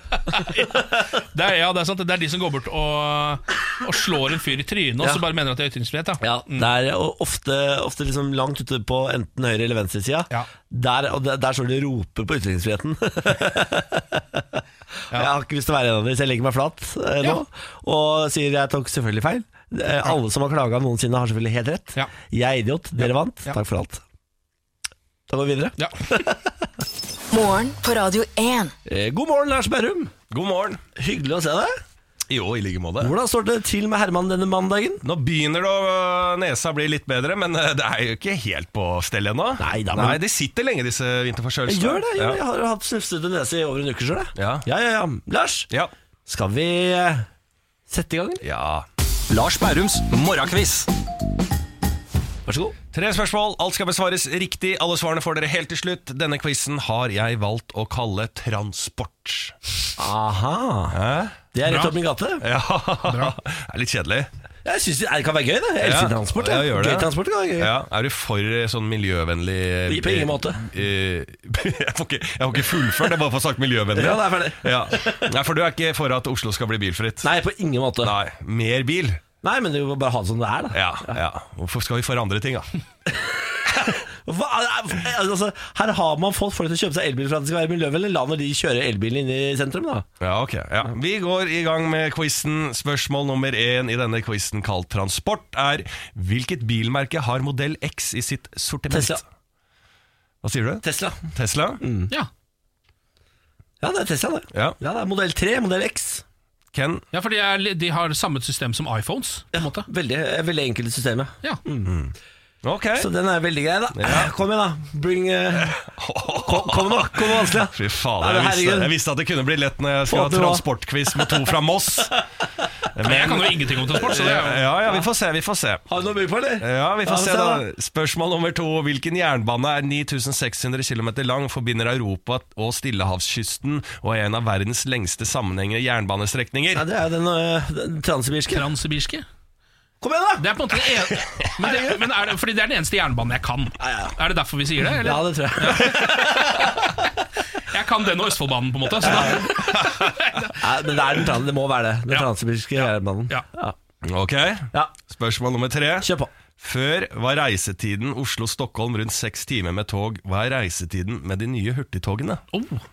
(laughs)
Det er, (laughs) ja, det er sant. Det er de som går bort og, og slår en fyr i trynet, og
Ja.
så bare mener at det er ytringsfrihet. Ja.
Ja, det er o- ofte, ofte liksom langt ute på enten høyre- eller venstresida.
Ja.
Der, og der, der står de og roper på ytringsfriheten. (laughs) Jeg har ikke lyst til å være en av dem, så jeg legger meg flat eh, nå.
Ja.
Og sier jeg tok selvfølgelig feil. Eh, alle som har klaga noensinne, har selvfølgelig helt rett.
Ja.
Jeg er idiot, dere vant.
Ja.
Takk for alt. Da går vi videre.
Ja.
Morgen på Radio 1.
Eh, god morgen, Lars Berrum.
God morgen.
Hyggelig å se deg.
Jo, i like måte.
Hvordan står det til med Herman denne mandagen?
Nå begynner det å øh, nesa bli litt bedre, men eh, det er jo ikke helt på stell ennå.
Nei da, men-
Nei, det sitter lenge, disse vinterforkjølelsene.
Jeg gjør det. Jeg,
Ja.
jeg har hatt snufsete nese i over en uke sjøl, jeg.
Ja.
ja, ja, ja. Lars,
Ja.
skal vi eh, sette i gang? eller?
ja.
Lars Bærums morgenkviss.
Vær så god.
Tre spørsmål. Alt skal besvares riktig. Alle svarene får dere helt til slutt. Denne quizen har jeg valgt å kalle transport.
Aha.
Hæ?
Det er rett
Bra.
opp min gate.
Ja. (laughs) Det er litt kjedelig.
Jeg synes det, det kan være gøy, det. Jeg elsker
Ja,
transport.
ja,
jeg.
gjør det.
Gøy transport kan være gøy.
Ja, Er du for eh, sånn miljøvennlig eh,
På ingen måte.
eh, (laughs) Jeg får ikke, jeg får ikke fullført, jeg bare får sagt miljøvennlig.
Ja, det er ferdig.
Ja. Nei, For du er ikke for at Oslo skal bli bilfritt?
Nei, på ingen måte. Nei,
Nei, Mer bil?
men du må bare ha det som det er, da.
Ja, ja. Hvorfor skal vi forandre ting, da?
Hva, altså, her har man fått folk til å kjøpe seg elbil for at det skal være miljøvennlig. La når de kjører elbilen inn i sentrum, da.
Ja, ok ja. Vi går i gang med quizen. Spørsmål nummer én i denne quizen kalt transport er hvilket bilmerke har modell X i sitt sortiment?
Tesla. Mm.
Hva sier du?
Tesla.
Tesla?
Ja.
Ja, det er Tesla, det.
Ja.
Ja, det er modell 3, modell X.
Ken?
ja, for de, er, li- de har samme system som iPhones. På en måte.
eh, Mm. Veldig, veldig enkelt system, ja.
Ja.
Ok.
Så den er veldig grei, da. Eh, Kom igjen, da. Bring eh, Kom, kom nå, kom nå vanskelig, da.
Fy faen,
Nei, men
jeg visste,
herregud.
jeg visste at det kunne bli lett når jeg skulle
Å,
ha
det var-
transportquiz med to fra
(laughs)
Moss.
Men jeg kan jo ingenting om transport, så det er jo
Ja, ja, vi får se, vi får se.
Har du noe å by på, eller?
Ja, vi får se
da.
da. Spørsmål nummer to. Hvilken jernbane er 9600 km lang, forbinder Europa og Stillehavskysten og er en av verdens lengste sammenhengende jernbanestrekninger?
Ja, det er jo den, eh, den transsibirske.
Transsibirske.
Kom igjen, da!
Det er på en måte det ene men det, men er det, Fordi det er den eneste jernbanen jeg kan. Er det derfor vi sier det?
Ja,
Eller?
det tror jeg. (laughs)
Jeg kan den og Østfoldbanen, på en måte. Så da,
Nei, men det, er den, tran- det må være det. Den transsibirske jernbanen.
Ja.
Ja.
Ok,
Ja,
spørsmål nummer tre.
Kjør på.
Før var reisetiden Oslo-Stockholm rundt seks timer med tog. Hva er reisetiden med de nye hurtigtogene?
(laughs) oh.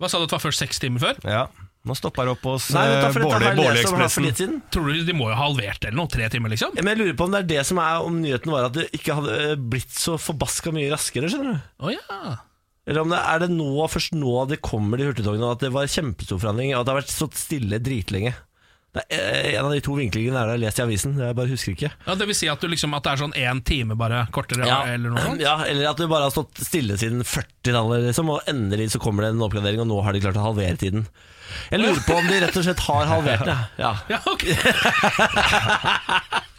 Hva sa du at det var først seks timer før?
Ja, nå stopper det opp hos
Nei,
eh,
vent da, for dette har jeg lest om her
Bårli-
for
Bårli-ekspressen.
litt siden.
Tror du de må jo ha halvert eller noe? Tre timer, liksom?
Men jeg lurer på om det er det som er om nyheten var at det ikke hadde eh, blitt så forbaska mye raskere, skjønner du.
Å ja.
Eller om det er det nå, først nå det kommer de hurtigtogene, og at det var kjempestor forandring, og at det har vært stått stille dritlenge. Det er eh, en av de to vinklingene der jeg har lest i avisen, jeg bare husker ikke.
ja. Det vil si at, du liksom, at det er sånn én time bare kortere, eller noe sånt?
ja, eller at det bare har stått stille siden 40-tallet, liksom, og endelig så kommer det en oppgradering, og nå har de klart å halvere tiden. Jeg lurer på om de rett og slett har halvert det. Ja,
Ja, ok.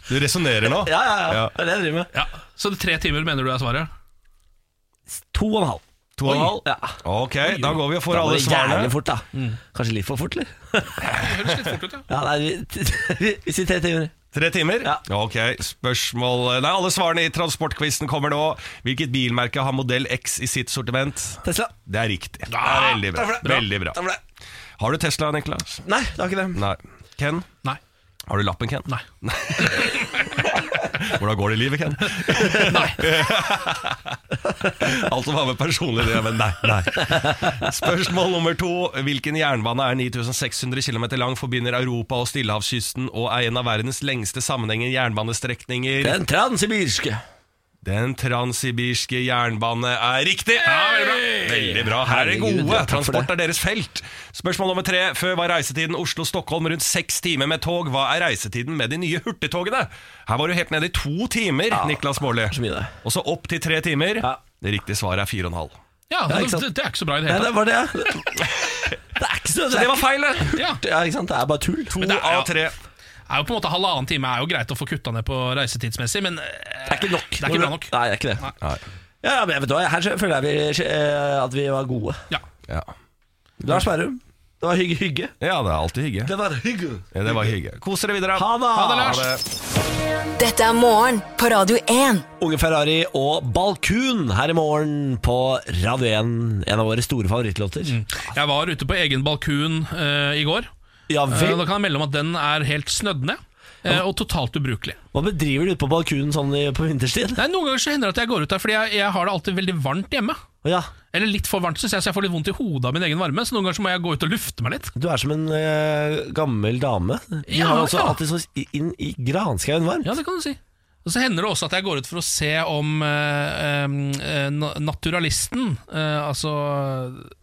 Du resonnerer nå?
ja, ja. ja. Det er det jeg driver med.
ja. Så det er tre timer mener du er svaret?
To og en halv.
To og en
Oi.
halv?
Ja.
Ok, da går vi og får
Da var
alle
det
svarene.
jævlig fort, da. Kanskje litt for fort, eller?
Det høres litt fort ut, ja.
Ja, nei, vi- (laughs) vi sier tre timer.
Tre timer?
Ja.
Ok, spørsmål Nei, alle svarene i transportquizen kommer nå. Hvilket bilmerke har modell X i sitt sortiment?
Tesla.
Det er riktig. Det er
Ah,
veldig bra.
takk for det.
Veldig bra.
Takk for det.
Har du Tesla, Niklas?
Nei, det var ikke det.
Nei. Ken?
Nei.
Har du lappen, Ken?
Nei.
Hvordan går det i livet, Ken?
(laughs)
Nei.
Alt som har med personlig det, men nei, nei. Spørsmål nummer to. Hvilken jernbane er 9600 km lang, forbinder Europa og Stillehavskysten og er en av verdens lengste sammenhengende jernbanestrekninger?
Den transsibirske.
Den transsibirske jernbane er riktig! veldig bra. Her er det
Herregud,
gode.
ja, takk for
Transport er deres felt. Spørsmål nummer tre. Før var reisetiden Oslo-Stockholm rundt seks timer med tog. Hva er reisetiden med de nye hurtigtogene? Her var du helt nede i to timer, Niklas Baarli.
så mye det.
Og så opp til tre timer.
Ja.
Det riktige svaret er fire og en halv.
Ja,
Ja,
det,
ikke sant?
det, det er ikke så bra i det
Nei, det
hele tatt.
var (laughs) det. Det er ikke så
Så det var feil, det!
Ja.
Ja, ikke sant? Det er bare tull.
To
Det
det er-
av tre.
er jo på en måte Halvannen time er jo greit å få kutta ned på reisetidsmessig, men eh,
er ikke nok.
Det er ikke bra nok.
Nei, det er ikke det.
Nei.
Ja, men jeg vet du hva, Her føler jeg vi, eh, at vi var gode.
Ja.
Ja.
Lars Berrum, det var hygge. hygge.
ja, det er alltid hygge.
Det var hygge.
Ja, det var hygge. Kos dere videre.
Ha det.
Ha det, Lars.
Dette er morgen på Radio 1.
Unge Ferrari og Balkun her i morgen på Radio 1, en av våre store favorittlåter.
Jeg var ute på egen balkun eh, i går.
Ja
Eh,
vel.
da kan jeg melde om at den er helt snødd ned. eh, Og totalt ubrukelig.
Hva bedriver du ute på balkunen sånn i, på vinterstid?
Nei, Noen ganger så hender det at jeg går ut der, fordi jeg, jeg har det alltid veldig varmt hjemme.
Ja,
Eller litt for varmt, synes jeg, så jeg får litt vondt i hodet av min egen varme. Så noen ganger så må jeg gå ut og lufte meg litt.
Du er som en eh, gammel dame. Du
Ja,
har også
ja.
alltid så inn i granskauen varm.
Ja, det kan du si. Og så hender det også at jeg går ut for å se om eh, eh, na- naturalisten, eh, altså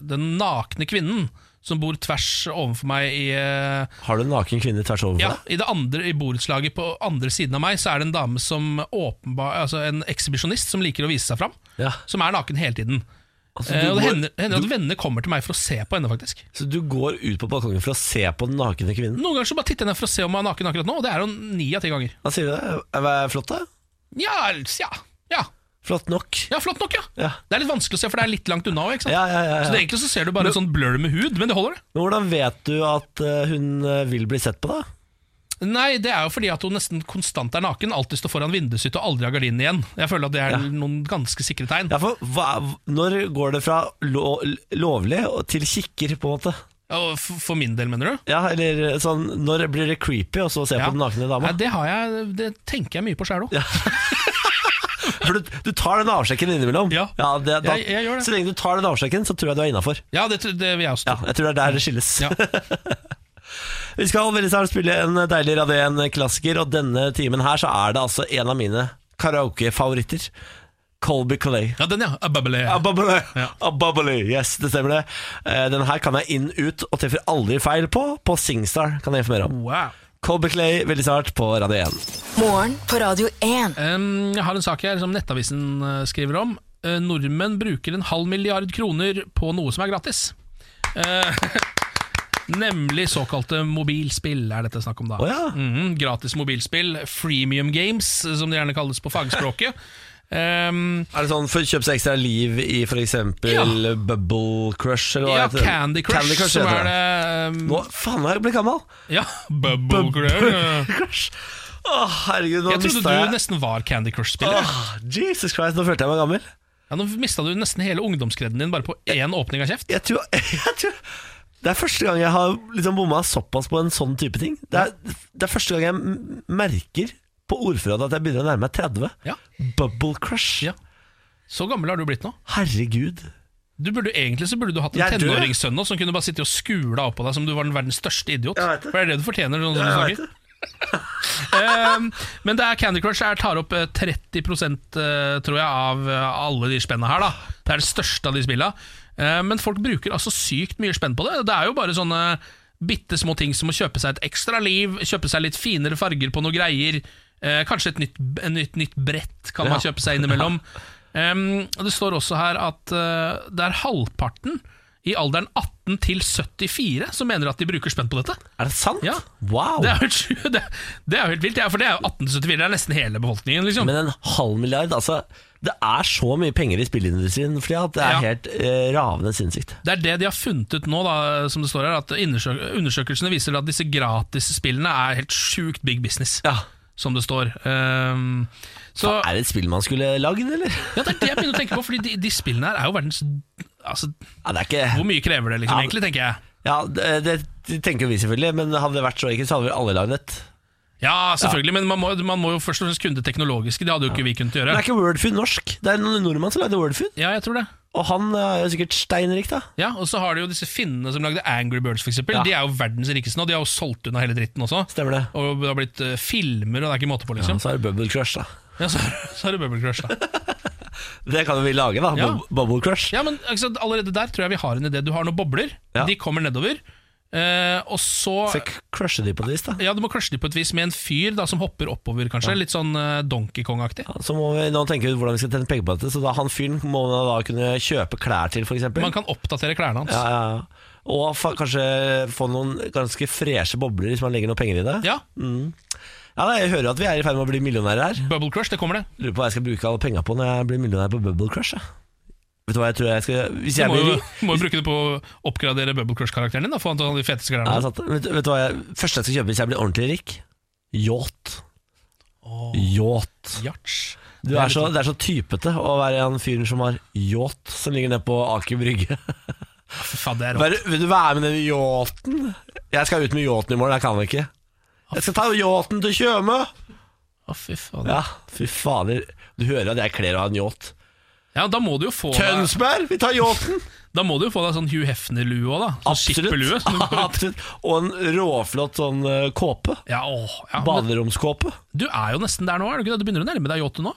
den nakne kvinnen, som bor tvers overfor meg i eh,
Har du en naken kvinne tvers over
Ja,
deg?
i det andre i borettslaget på andre siden av meg, så er det en dame som åpenbar Altså en ekshibisjonist som liker å vise seg fram.
Ja.
Som er naken hele tiden.
Altså,
Eh,
du
og
går-
det hender, hender at venner kommer til meg for å se på henne, faktisk.
Så du går ut på balkongen for å se på den nakne kvinnen?
Noen ganger så bare titter jeg ned for å se om hun er naken akkurat nå, og det er hun ni av ti ganger.
Hva sier du? det? Er det flott, da?
Ja, ja, ja,
Flott nok?
ja, flott nok, ja.
Ja.
Det er litt vanskelig å se, for det er litt langt unna òg, ikke sant.
Ja, ja, ja,
Så det,
ja.
egentlig så ser du bare en sånn blur med hud, men det holder, det.
Men hvordan vet du at eh, hun eh, vil bli sett på, da?
Nei, det er jo fordi at hun nesten konstant er naken, alltid står foran vinduet sitt og aldri har gardinen igjen. Jeg føler at det er
Ja.
noen ganske sikre tegn.
Ja, for hva, Når går det fra lo, lovlig og til kikker, på en måte?
Og f- For min del, mener du?
Ja, eller sånn Når blir det creepy, og så se
Ja.
på den nakne
Nei,
dama?
det, har jeg, det tenker jeg mye på sjæl òg.
For du, du tar den avsjekken innimellom.
Ja.
det, da,
Jeg- jeg gjør det.
Så lenge du tar den avsjekken, så tror jeg du er innafor.
Ja, det, tr- det vil jeg også
Ja,
tro.
jeg tror det er der det skilles.
Ja.
(laughs) Vi skal veldig snart spille en deilig Radio 1-klassiker, og denne timen her så er det altså en av mine karaokefavoritter. Colby Colley.
Ja,
(laughs)
den, ja. A bubble.
Ababale,
Ja.
ababale, yes, det stemmer det. Eh, Den her kan jeg inn, ut og treffer aldri feil på. På Singstar kan jeg informere om.
Wow.
Colby Clay veldig snart på Radio 1.
Morgen på Radio 1.
Em, jeg har en sak her som Nettavisen eh, skriver om. Eh, nordmenn bruker en halv milliard kroner på noe som er gratis. Eh, (laughs) nemlig såkalte mobilspill, er dette snakk om da.
Å ja.
Mhm, gratis mobilspill, freemium games, som det gjerne kalles på fagspråket. Em,
Er det sånn for å kjøpe seg ekstra liv i f.eks.
Ja.
Bubble Crush? Eller hva
ja,
heter det?
Candy Crush,
Candy Crush
som
heter
er
det.
det em,
Nå, faen, nå er jeg blitt gammel!
Ja, (laughs) Bubble
(laughs)
Crush.
Crush. Å, herregud, nå
Jeg trodde
mista
du
jeg Ah.
nesten var Candy Crush-spiller.
Åh, Jesus Christ, nå følte jeg meg gammel.
Ja, nå mista du nesten hele ungdomskredden din bare på én åpning av kjeft.
Jeg tror, (laughs) jeg tror Det er første gang jeg har liksom bomma såpass på en sånn type ting. Det er, det er første gang jeg m- merker på ordforrådet at jeg begynner å nærme meg 30.
Ja.
Bubble Crush.
Ja. Så gammel har du blitt nå.
Herregud.
Du burde, egentlig så burde du hatt en
Jeg er død.
tenåringssønn nå som kunne bare sitte og skula opp på deg som du var den verdens største idiot.
Jeg vet det.
For det er det du fortjener. Sånn som
Jeg
du snakker. Ehm, men det er Candy Crush jeg tar opp eh, 30 eh, tror jeg, av eh, alle de spennene her. da Det er det største av de spilla. Eh, Men folk bruker altså sykt mye spenn på det. Det er jo bare sånne bitte små ting som å kjøpe seg et ekstra liv, kjøpe seg litt finere farger på noe greier. eh, Kanskje et nytt, en nytt, nytt brett kan man
Ja.
kjøpe seg innimellom. Ehm, og det står også her at eh, det er halvparten i alderen 18 til 74 som mener at de bruker spenn på dette.
Er det sant?
Ja.
Wow.
Det er jo helt, sju- det, det er jo helt vilt, ja, for det er jo 1874, det er nesten hele befolkningen. liksom
Men en halv milliard, altså. Det er så mye penger i spillindustrien for tida at det er
Ja.
helt eh, ravende sinnssykt.
Det er det de har funnet ut nå, da, som det står her, at undersøk undersøkelsene viser at disse gratisspillene er helt sjukt big business, som det står. Ehm, så
Er det et spill man skulle lagd, eller?
ja, Det er det jeg begynner å tenke på, Fordi de, de spillene her er jo verdens Altså,
Ja, det er ikke
Hvor mye krever det, liksom,
Ja, men-
egentlig, tenker jeg.
Ja, det, det tenker vi selvfølgelig, men hadde det vært så enkelt, så hadde vel alle lagd et.
Ja, selvfølgelig, men man må, man må jo først og fremst kunne det teknologiske. Det hadde jo ikke vi kunnet
Men
gjøre.
er ikke Wordfood norsk? Det er en nordmann som lagde Wordfood,
Ja, jeg tror det.
og han eh, er jo sikkert steinrik, da.
Ja, Og så har du jo disse finnene som lagde Angry Birds, f.eks.
Ja.
eksempel De er jo verdens rikeste nå. De har jo solgt unna hele dritten også.
Stemmer det?
Og det har blitt eh, filmer, og det er ikke måte på,
Ja,
liksom.
så er det Bubble Crush, da.
Ja, så, så er det Bubble Crush, da.
Det kan jo vi lage, da.
Ja.
Bub- Bubble Crush.
Ja, men ikke sant, Allerede der tror jeg vi har en idé. Du har noen bobler,
Ja.
de kommer nedover. eh, og så
Så crusher de på et vis, da.
Ja, Du må crushe de på et vis med en fyr da som hopper oppover, kanskje. Litt sånn eh, Donkey Kong-aktig.
Ja, Så må vi nå tenke ut hvordan vi skal tjene penger på dette, så da han fyren må man da kunne kjøpe klær til, for eksempel.
Man kan oppdatere klærne hans.
Ja, ja, ja. Og fa kanskje få noen ganske freshe bobler hvis man legger noen penger i det.
Ja,
Ja, da, Jeg hører jo at vi er i ferd med å bli millionærer her.
Bubble Crush, det kommer det.
Lurer på hva jeg skal bruke alle penga på når jeg blir millionær på Bubble Crush. jeg. Vet du hva jeg tror jeg skal Hvis
Du
jeg
må
blir
jo,
rik
må jo bruke det på å oppgradere Bubble Crush-karakteren din. da Få han til å ha de feteste
Nei,
klærne.
sant. vet, vet du hva jeg Første jeg skal kjøpe hvis jeg blir ordentlig rik? Yacht. Yacht.
Yacht.
altså. Du er
sånn,
så, det er så typete å være han fyren som har yacht som ligger nede på Aker Brygge. (laughs)
Fy faen, det er rått.
Vær, vil du være med den yachten? Jeg skal ut med yachten i morgen, jeg kan ikke. Jeg skal ta yachten til Tjøme!
Å, fy faen. Ja.
Ja, fy fader. Du hører at jeg kler å ha en yacht.
da må du jo få deg,
Tønsberg, vi tar yachten!
Da må du jo få deg sånn Hugh Hefner-lue òg, da. Sånn skipperlue.
Absolutt. (laughs)
som du går ut-
Absolutt. Og en råflott sånn eh, kåpe.
Ja, åh, ja, men
Baderomskåpe.
du er jo nesten der nå, er du ikke det? Du begynner å nærme deg yachten nå.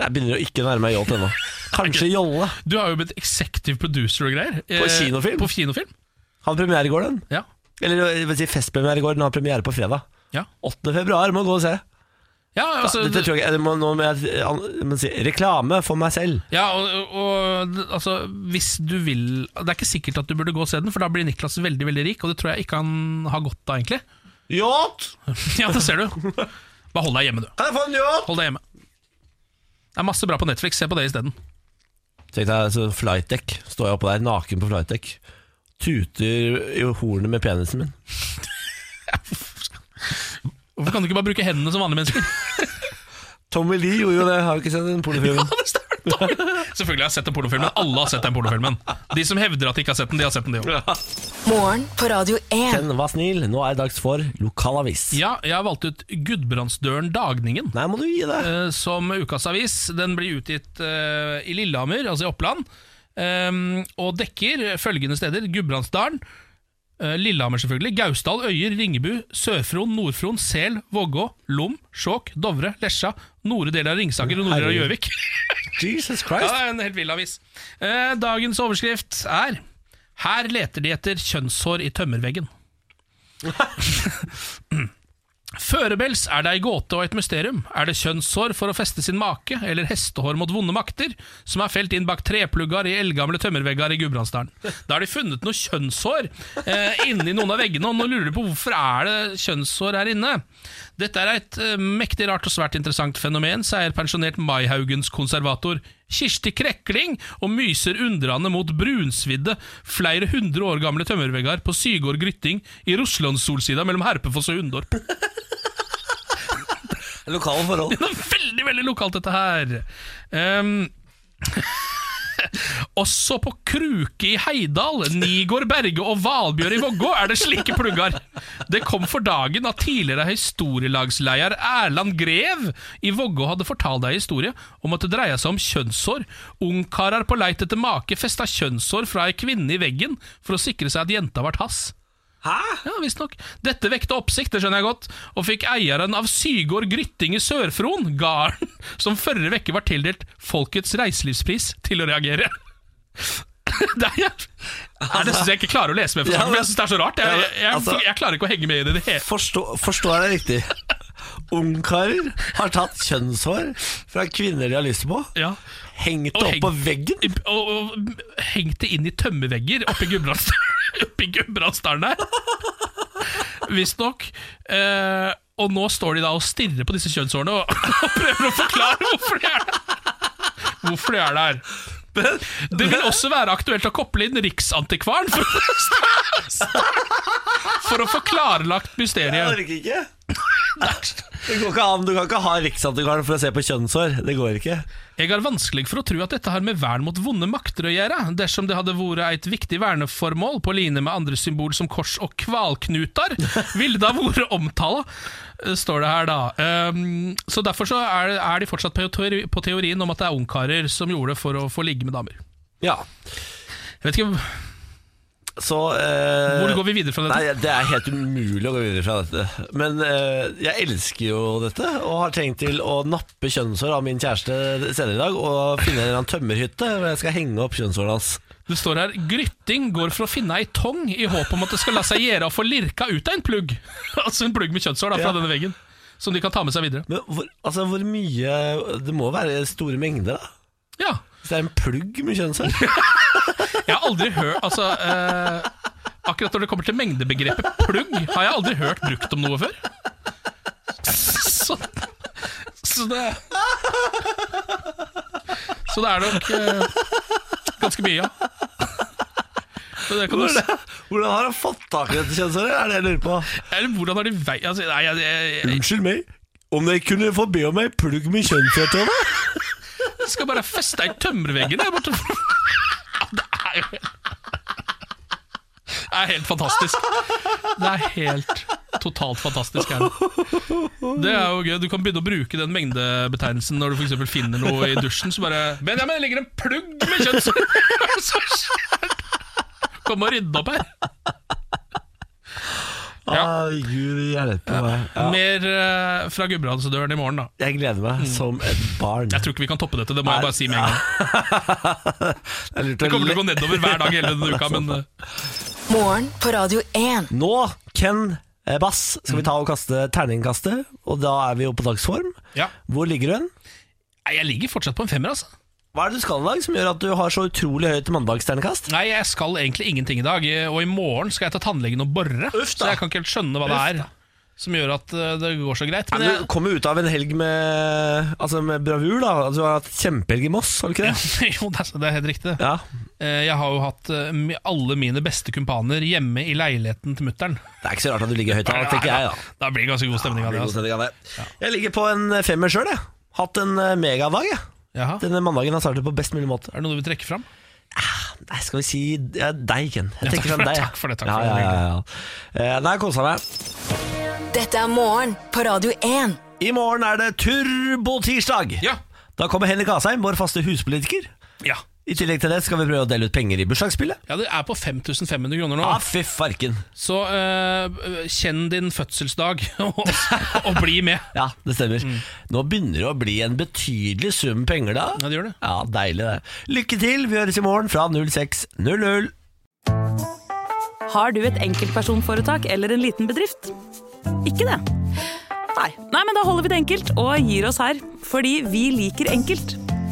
Jeg begynner å ikke nærme meg yacht ennå. Kanskje jolle.
Du har jo blitt executive producer og greier. Eh,
På kinofilm?
På kinofilm,
Hadde premiere i går, den.
ja.
Eller jeg vil si festpremiere i går. Den har premiere på fredag.
Ja.
8. februar, må gå og se.
Ja, altså,
Dette tror jeg, ikke- jeg må, nå må jeg, jeg må si reklame for meg selv.
ja og, og altså, hvis du vil Det er ikke sikkert at du burde gå og se den, for da blir Niklas veldig veldig rik, og det tror jeg ikke han har godt av, egentlig. (laughs)
Yacht!
Ja, det ser du. Bare hold deg hjemme, du.
Kan jeg få en yacht?
Hold deg hjemme. Det er masse bra på Netflix, se på det isteden.
Tenk deg så flightdeck. Står jeg oppå der naken på flightdeck. Tuter i hornet med penisen min.
Hvorfor kan du ikke bare bruke hendene som vanlige mennesker? (laughs)
Tommy Lee gjorde jo det, har du ikke sett den (laughs) pornofilmen?
Ja, det stemmer. Selvfølgelig har jeg sett den pornofilmen. Alle har sett den pornofilmen. De som hevder at de ikke har sett den, de har sett den, de òg.
Morgen på Radio 1.
Ken, vær snill, nå er det dags for lokalavis.
Ja, jeg har valgt ut Gudbrandsdølen Dagningen.
Nei, må du gi det.
eh, som ukas avis. Den blir utgitt eh, i Lillehammer, altså i Oppland, eh, og dekker følgende steder. Gudbrandsdalen, eh, Lillehammer selvfølgelig, Gausdal, Øyer, Ringebu, Sør-Fron, Nord-Fron, Sel, Vågå, Lom, Skjåk, Dovre, Lesja, nordre del av Ringsaker og nordre del av
Herregud.
Gjøvik. (laughs)
Jesus
Ja,
Christ.
det er en helt vill avis. Eh, Dagens overskrift er her leter de etter kjønnshår i tømmerveggen. Førebels er det ei gåte og et mysterium. Er det kjønnshår for å feste sin make, eller hestehår mot vonde makter, som er felt inn bak treplugger i eldgamle tømmervegger i Gudbrandsdalen? Da har de funnet noe kjønnshår eh, inni noen av veggene, og nå lurer de på hvorfor er det kjønnshår her inne. Dette er et eh, mektig rart og svært interessant fenomen, sier pensjonert Maihaugens konservator Kirsti Krekling, og myser undrende mot brunsvidde, flere hundre år gamle tømmervegger på Sygård Grytting i Russlandssolsida mellom Herpefoss og Hundorp.
Lokale forhold.
Det er veldig, veldig lokalt dette her Ehm, (laughs) Også på Kruke i Heidal, Nigård Berge og Valbjørn i Vågå er det slike pluggar. Det kom for dagen at tidligere historielagsleder Erland Grev i Vågå hadde fortalt ei historie om at det dreia seg om kjønnshår. Ungkarer på leit etter make festa kjønnshår fra ei kvinne i veggen for å sikre seg at jenta ble hans. Ja, visstnok. Dette vekte oppsikt, det skjønner jeg godt, og fikk eieren av Sygård Grytting i Sør-Fron, gården som forrige uke var tildelt Folkets reiselivspris, til å reagere. Det er, jeg, Nei, det syns jeg ikke klarer å lese med, for,
Ja,
for jeg synes det er så rart. Jeg, jeg,
Ja, altså-
jeg, jeg klarer ikke å henge med i det i det hele
Forstå, forstår jeg det riktig? Ungkarer har tatt kjønnshår fra kvinner de har lyst på,
ja.
hengt
Og
det opp
heng-
på veggen.
og, og hengte inn i tømmevegger oppe i (laughs) Gudbrandsdalen oppe i Gudbrandsdalen der. Visstnok. Eh, og nå står de da og stirrer på disse kjønnshårene og, (laughs) og prøver å forklare hvorfor de er der. Hvorfor de er der. Det vil også være aktuelt å koble inn Riksantikvaren for, (laughs) for å få klarlagt
Jeg
mysteriet.
orker ikke. Det går ikke an. Du kan ikke ha Riksantikvaren for å se på kjønnshår. Det går ikke.
Jeg har vanskelig for å tro at dette har med vern mot vonde makter å gjøre, dersom det hadde vært et viktig verneformål på line med andre symbol som kors og kvalknutar, ville det ha vært omtala, eh, står det her da. Ehm, så derfor så er, er de fortsatt på, teori, på teorien om at det er ungkarer som gjorde det for å få ligge med damer.
Ja,
Jeg vet ikke,
så eh,
Hvor går vi videre fra dette?
Nei, Det er helt umulig å gå videre fra dette. Men eh, jeg elsker jo dette, og har tenkt til å nappe kjønnshår av min kjæreste senere i dag. Og finne en eller annen tømmerhytte hvor jeg skal henge opp kjønnshårene hans.
Det står her 'Grytting går for å finne ei tong i håp om at det skal la seg gjøre å få lirka ut av en plugg'. (laughs) altså en plugg med kjønnshår da, fra
Ja.
denne veggen, som de kan ta med seg videre.
Men hvor, altså, hvor mye Det må være store mengder, da.
Ja,
Hvis det er en plugg med (laughs) kjønnshår.
Jeg har aldri hørt Altså eh, Akkurat når det kommer til mengdebegrepet plugg, har jeg aldri hørt brukt om noe før. Så, så det Så det er nok eh, ganske mye, ja. Men det kan du, s-
Hvordan har han fått tak i dette kjønnshåret? Er det jeg lurer på.
eller hvordan har de vei... Altså, nei, jeg, jeg,
Unnskyld meg. Om dere kunne få be om ei plugg med kjønnshår til meg?
jeg skal bare feste i tømmerveggen der borte. (laughs) Ja, det er jo Det er helt fantastisk. Det er helt totalt fantastisk her. Det er jo gøy. Du kan begynne å bruke den mengdebetegnelsen når du for eksempel finner noe i dusjen. Så bare 'Benjamin, det ligger en plugg med kjønnshår!' Kom og rydde opp her. Ja.
Ah, Gud hjelpe meg. Ja.
Mer eh, fra Gudbrandsdøren i morgen, da.
Jeg gleder meg som et barn.
Jeg tror ikke vi kan toppe dette, det må jeg bare si med en gang.
Det er lurt å
Det kommer til å gå
le-
nedover hver dag hele denne uka, men eh,
Morgen på Radio 1.
Nå, Ken eh, Bass, skal vi ta og kaste terningkastet. Og da er vi jo på dagsform.
ja.
Hvor ligger du hen?
Nei, Jeg ligger fortsatt på en femmer, altså.
Hva er det du skal i dag som gjør at du har så utrolig høyt mandagsterningkast?
Nei, jeg skal egentlig ingenting i dag, og i morgen skal jeg til tannlegen og borre.
Uff da.
Så jeg kan ikke helt skjønne hva det er som gjør at eh, det går så greit. Men
Du
jeg,
kom jo ut av en helg med, altså med bravur, da. Altså, du har hatt kjempehelg i Moss, har du ikke det?
(laughs) jo, det er- det er helt riktig.
Ja.
Eh, Jeg har jo hatt eh, mi- alle mine beste kumpaner hjemme i leiligheten til mutter'n.
Det er ikke så rart at du ligger høyt da, tenker jeg. da
(laughs) Da blir det ganske god stemning av det.
God
Altså.
stemning av det. Jeg ligger på en femmer sjøl, jeg. Hatt en eh, megadag, jeg.
Jaha. Er
Denne mandagen har startet på best mulig måte.
det noe du vil trekke fram?
Nei, skal vi si ja, deg, Ken.
Ja,
Jeg
takk
tenker
for
fram
det,
deg. jeg.
takk for det, takk
ja,
for det.
ja, ja, ja. Eh, Nei, kosa meg.
Dette er morgen på Radio 1.
I morgen er det turbotirsdag.
Ja.
Da kommer Henrik Asheim, vår faste huspolitiker.
Ja.
I tillegg til det skal vi prøve å dele ut penger i bursdagsspillet.
ja, det er på 5500 kroner nå.
Ja, fy farken.
Så eh, kjenn din fødselsdag (laughs) og, og bli med.
Ja, det stemmer.
Mm.
Nå begynner det å bli en betydelig sum penger, da.
Ja, det gjør det.
Ja, Deilig, det. Lykke til. Vi høres i morgen fra 06.00.
Har du et enkeltpersonforetak eller en liten bedrift? Ikke det? Nei. Nei, men da holder vi det enkelt og gir oss her. Fordi vi liker enkelt.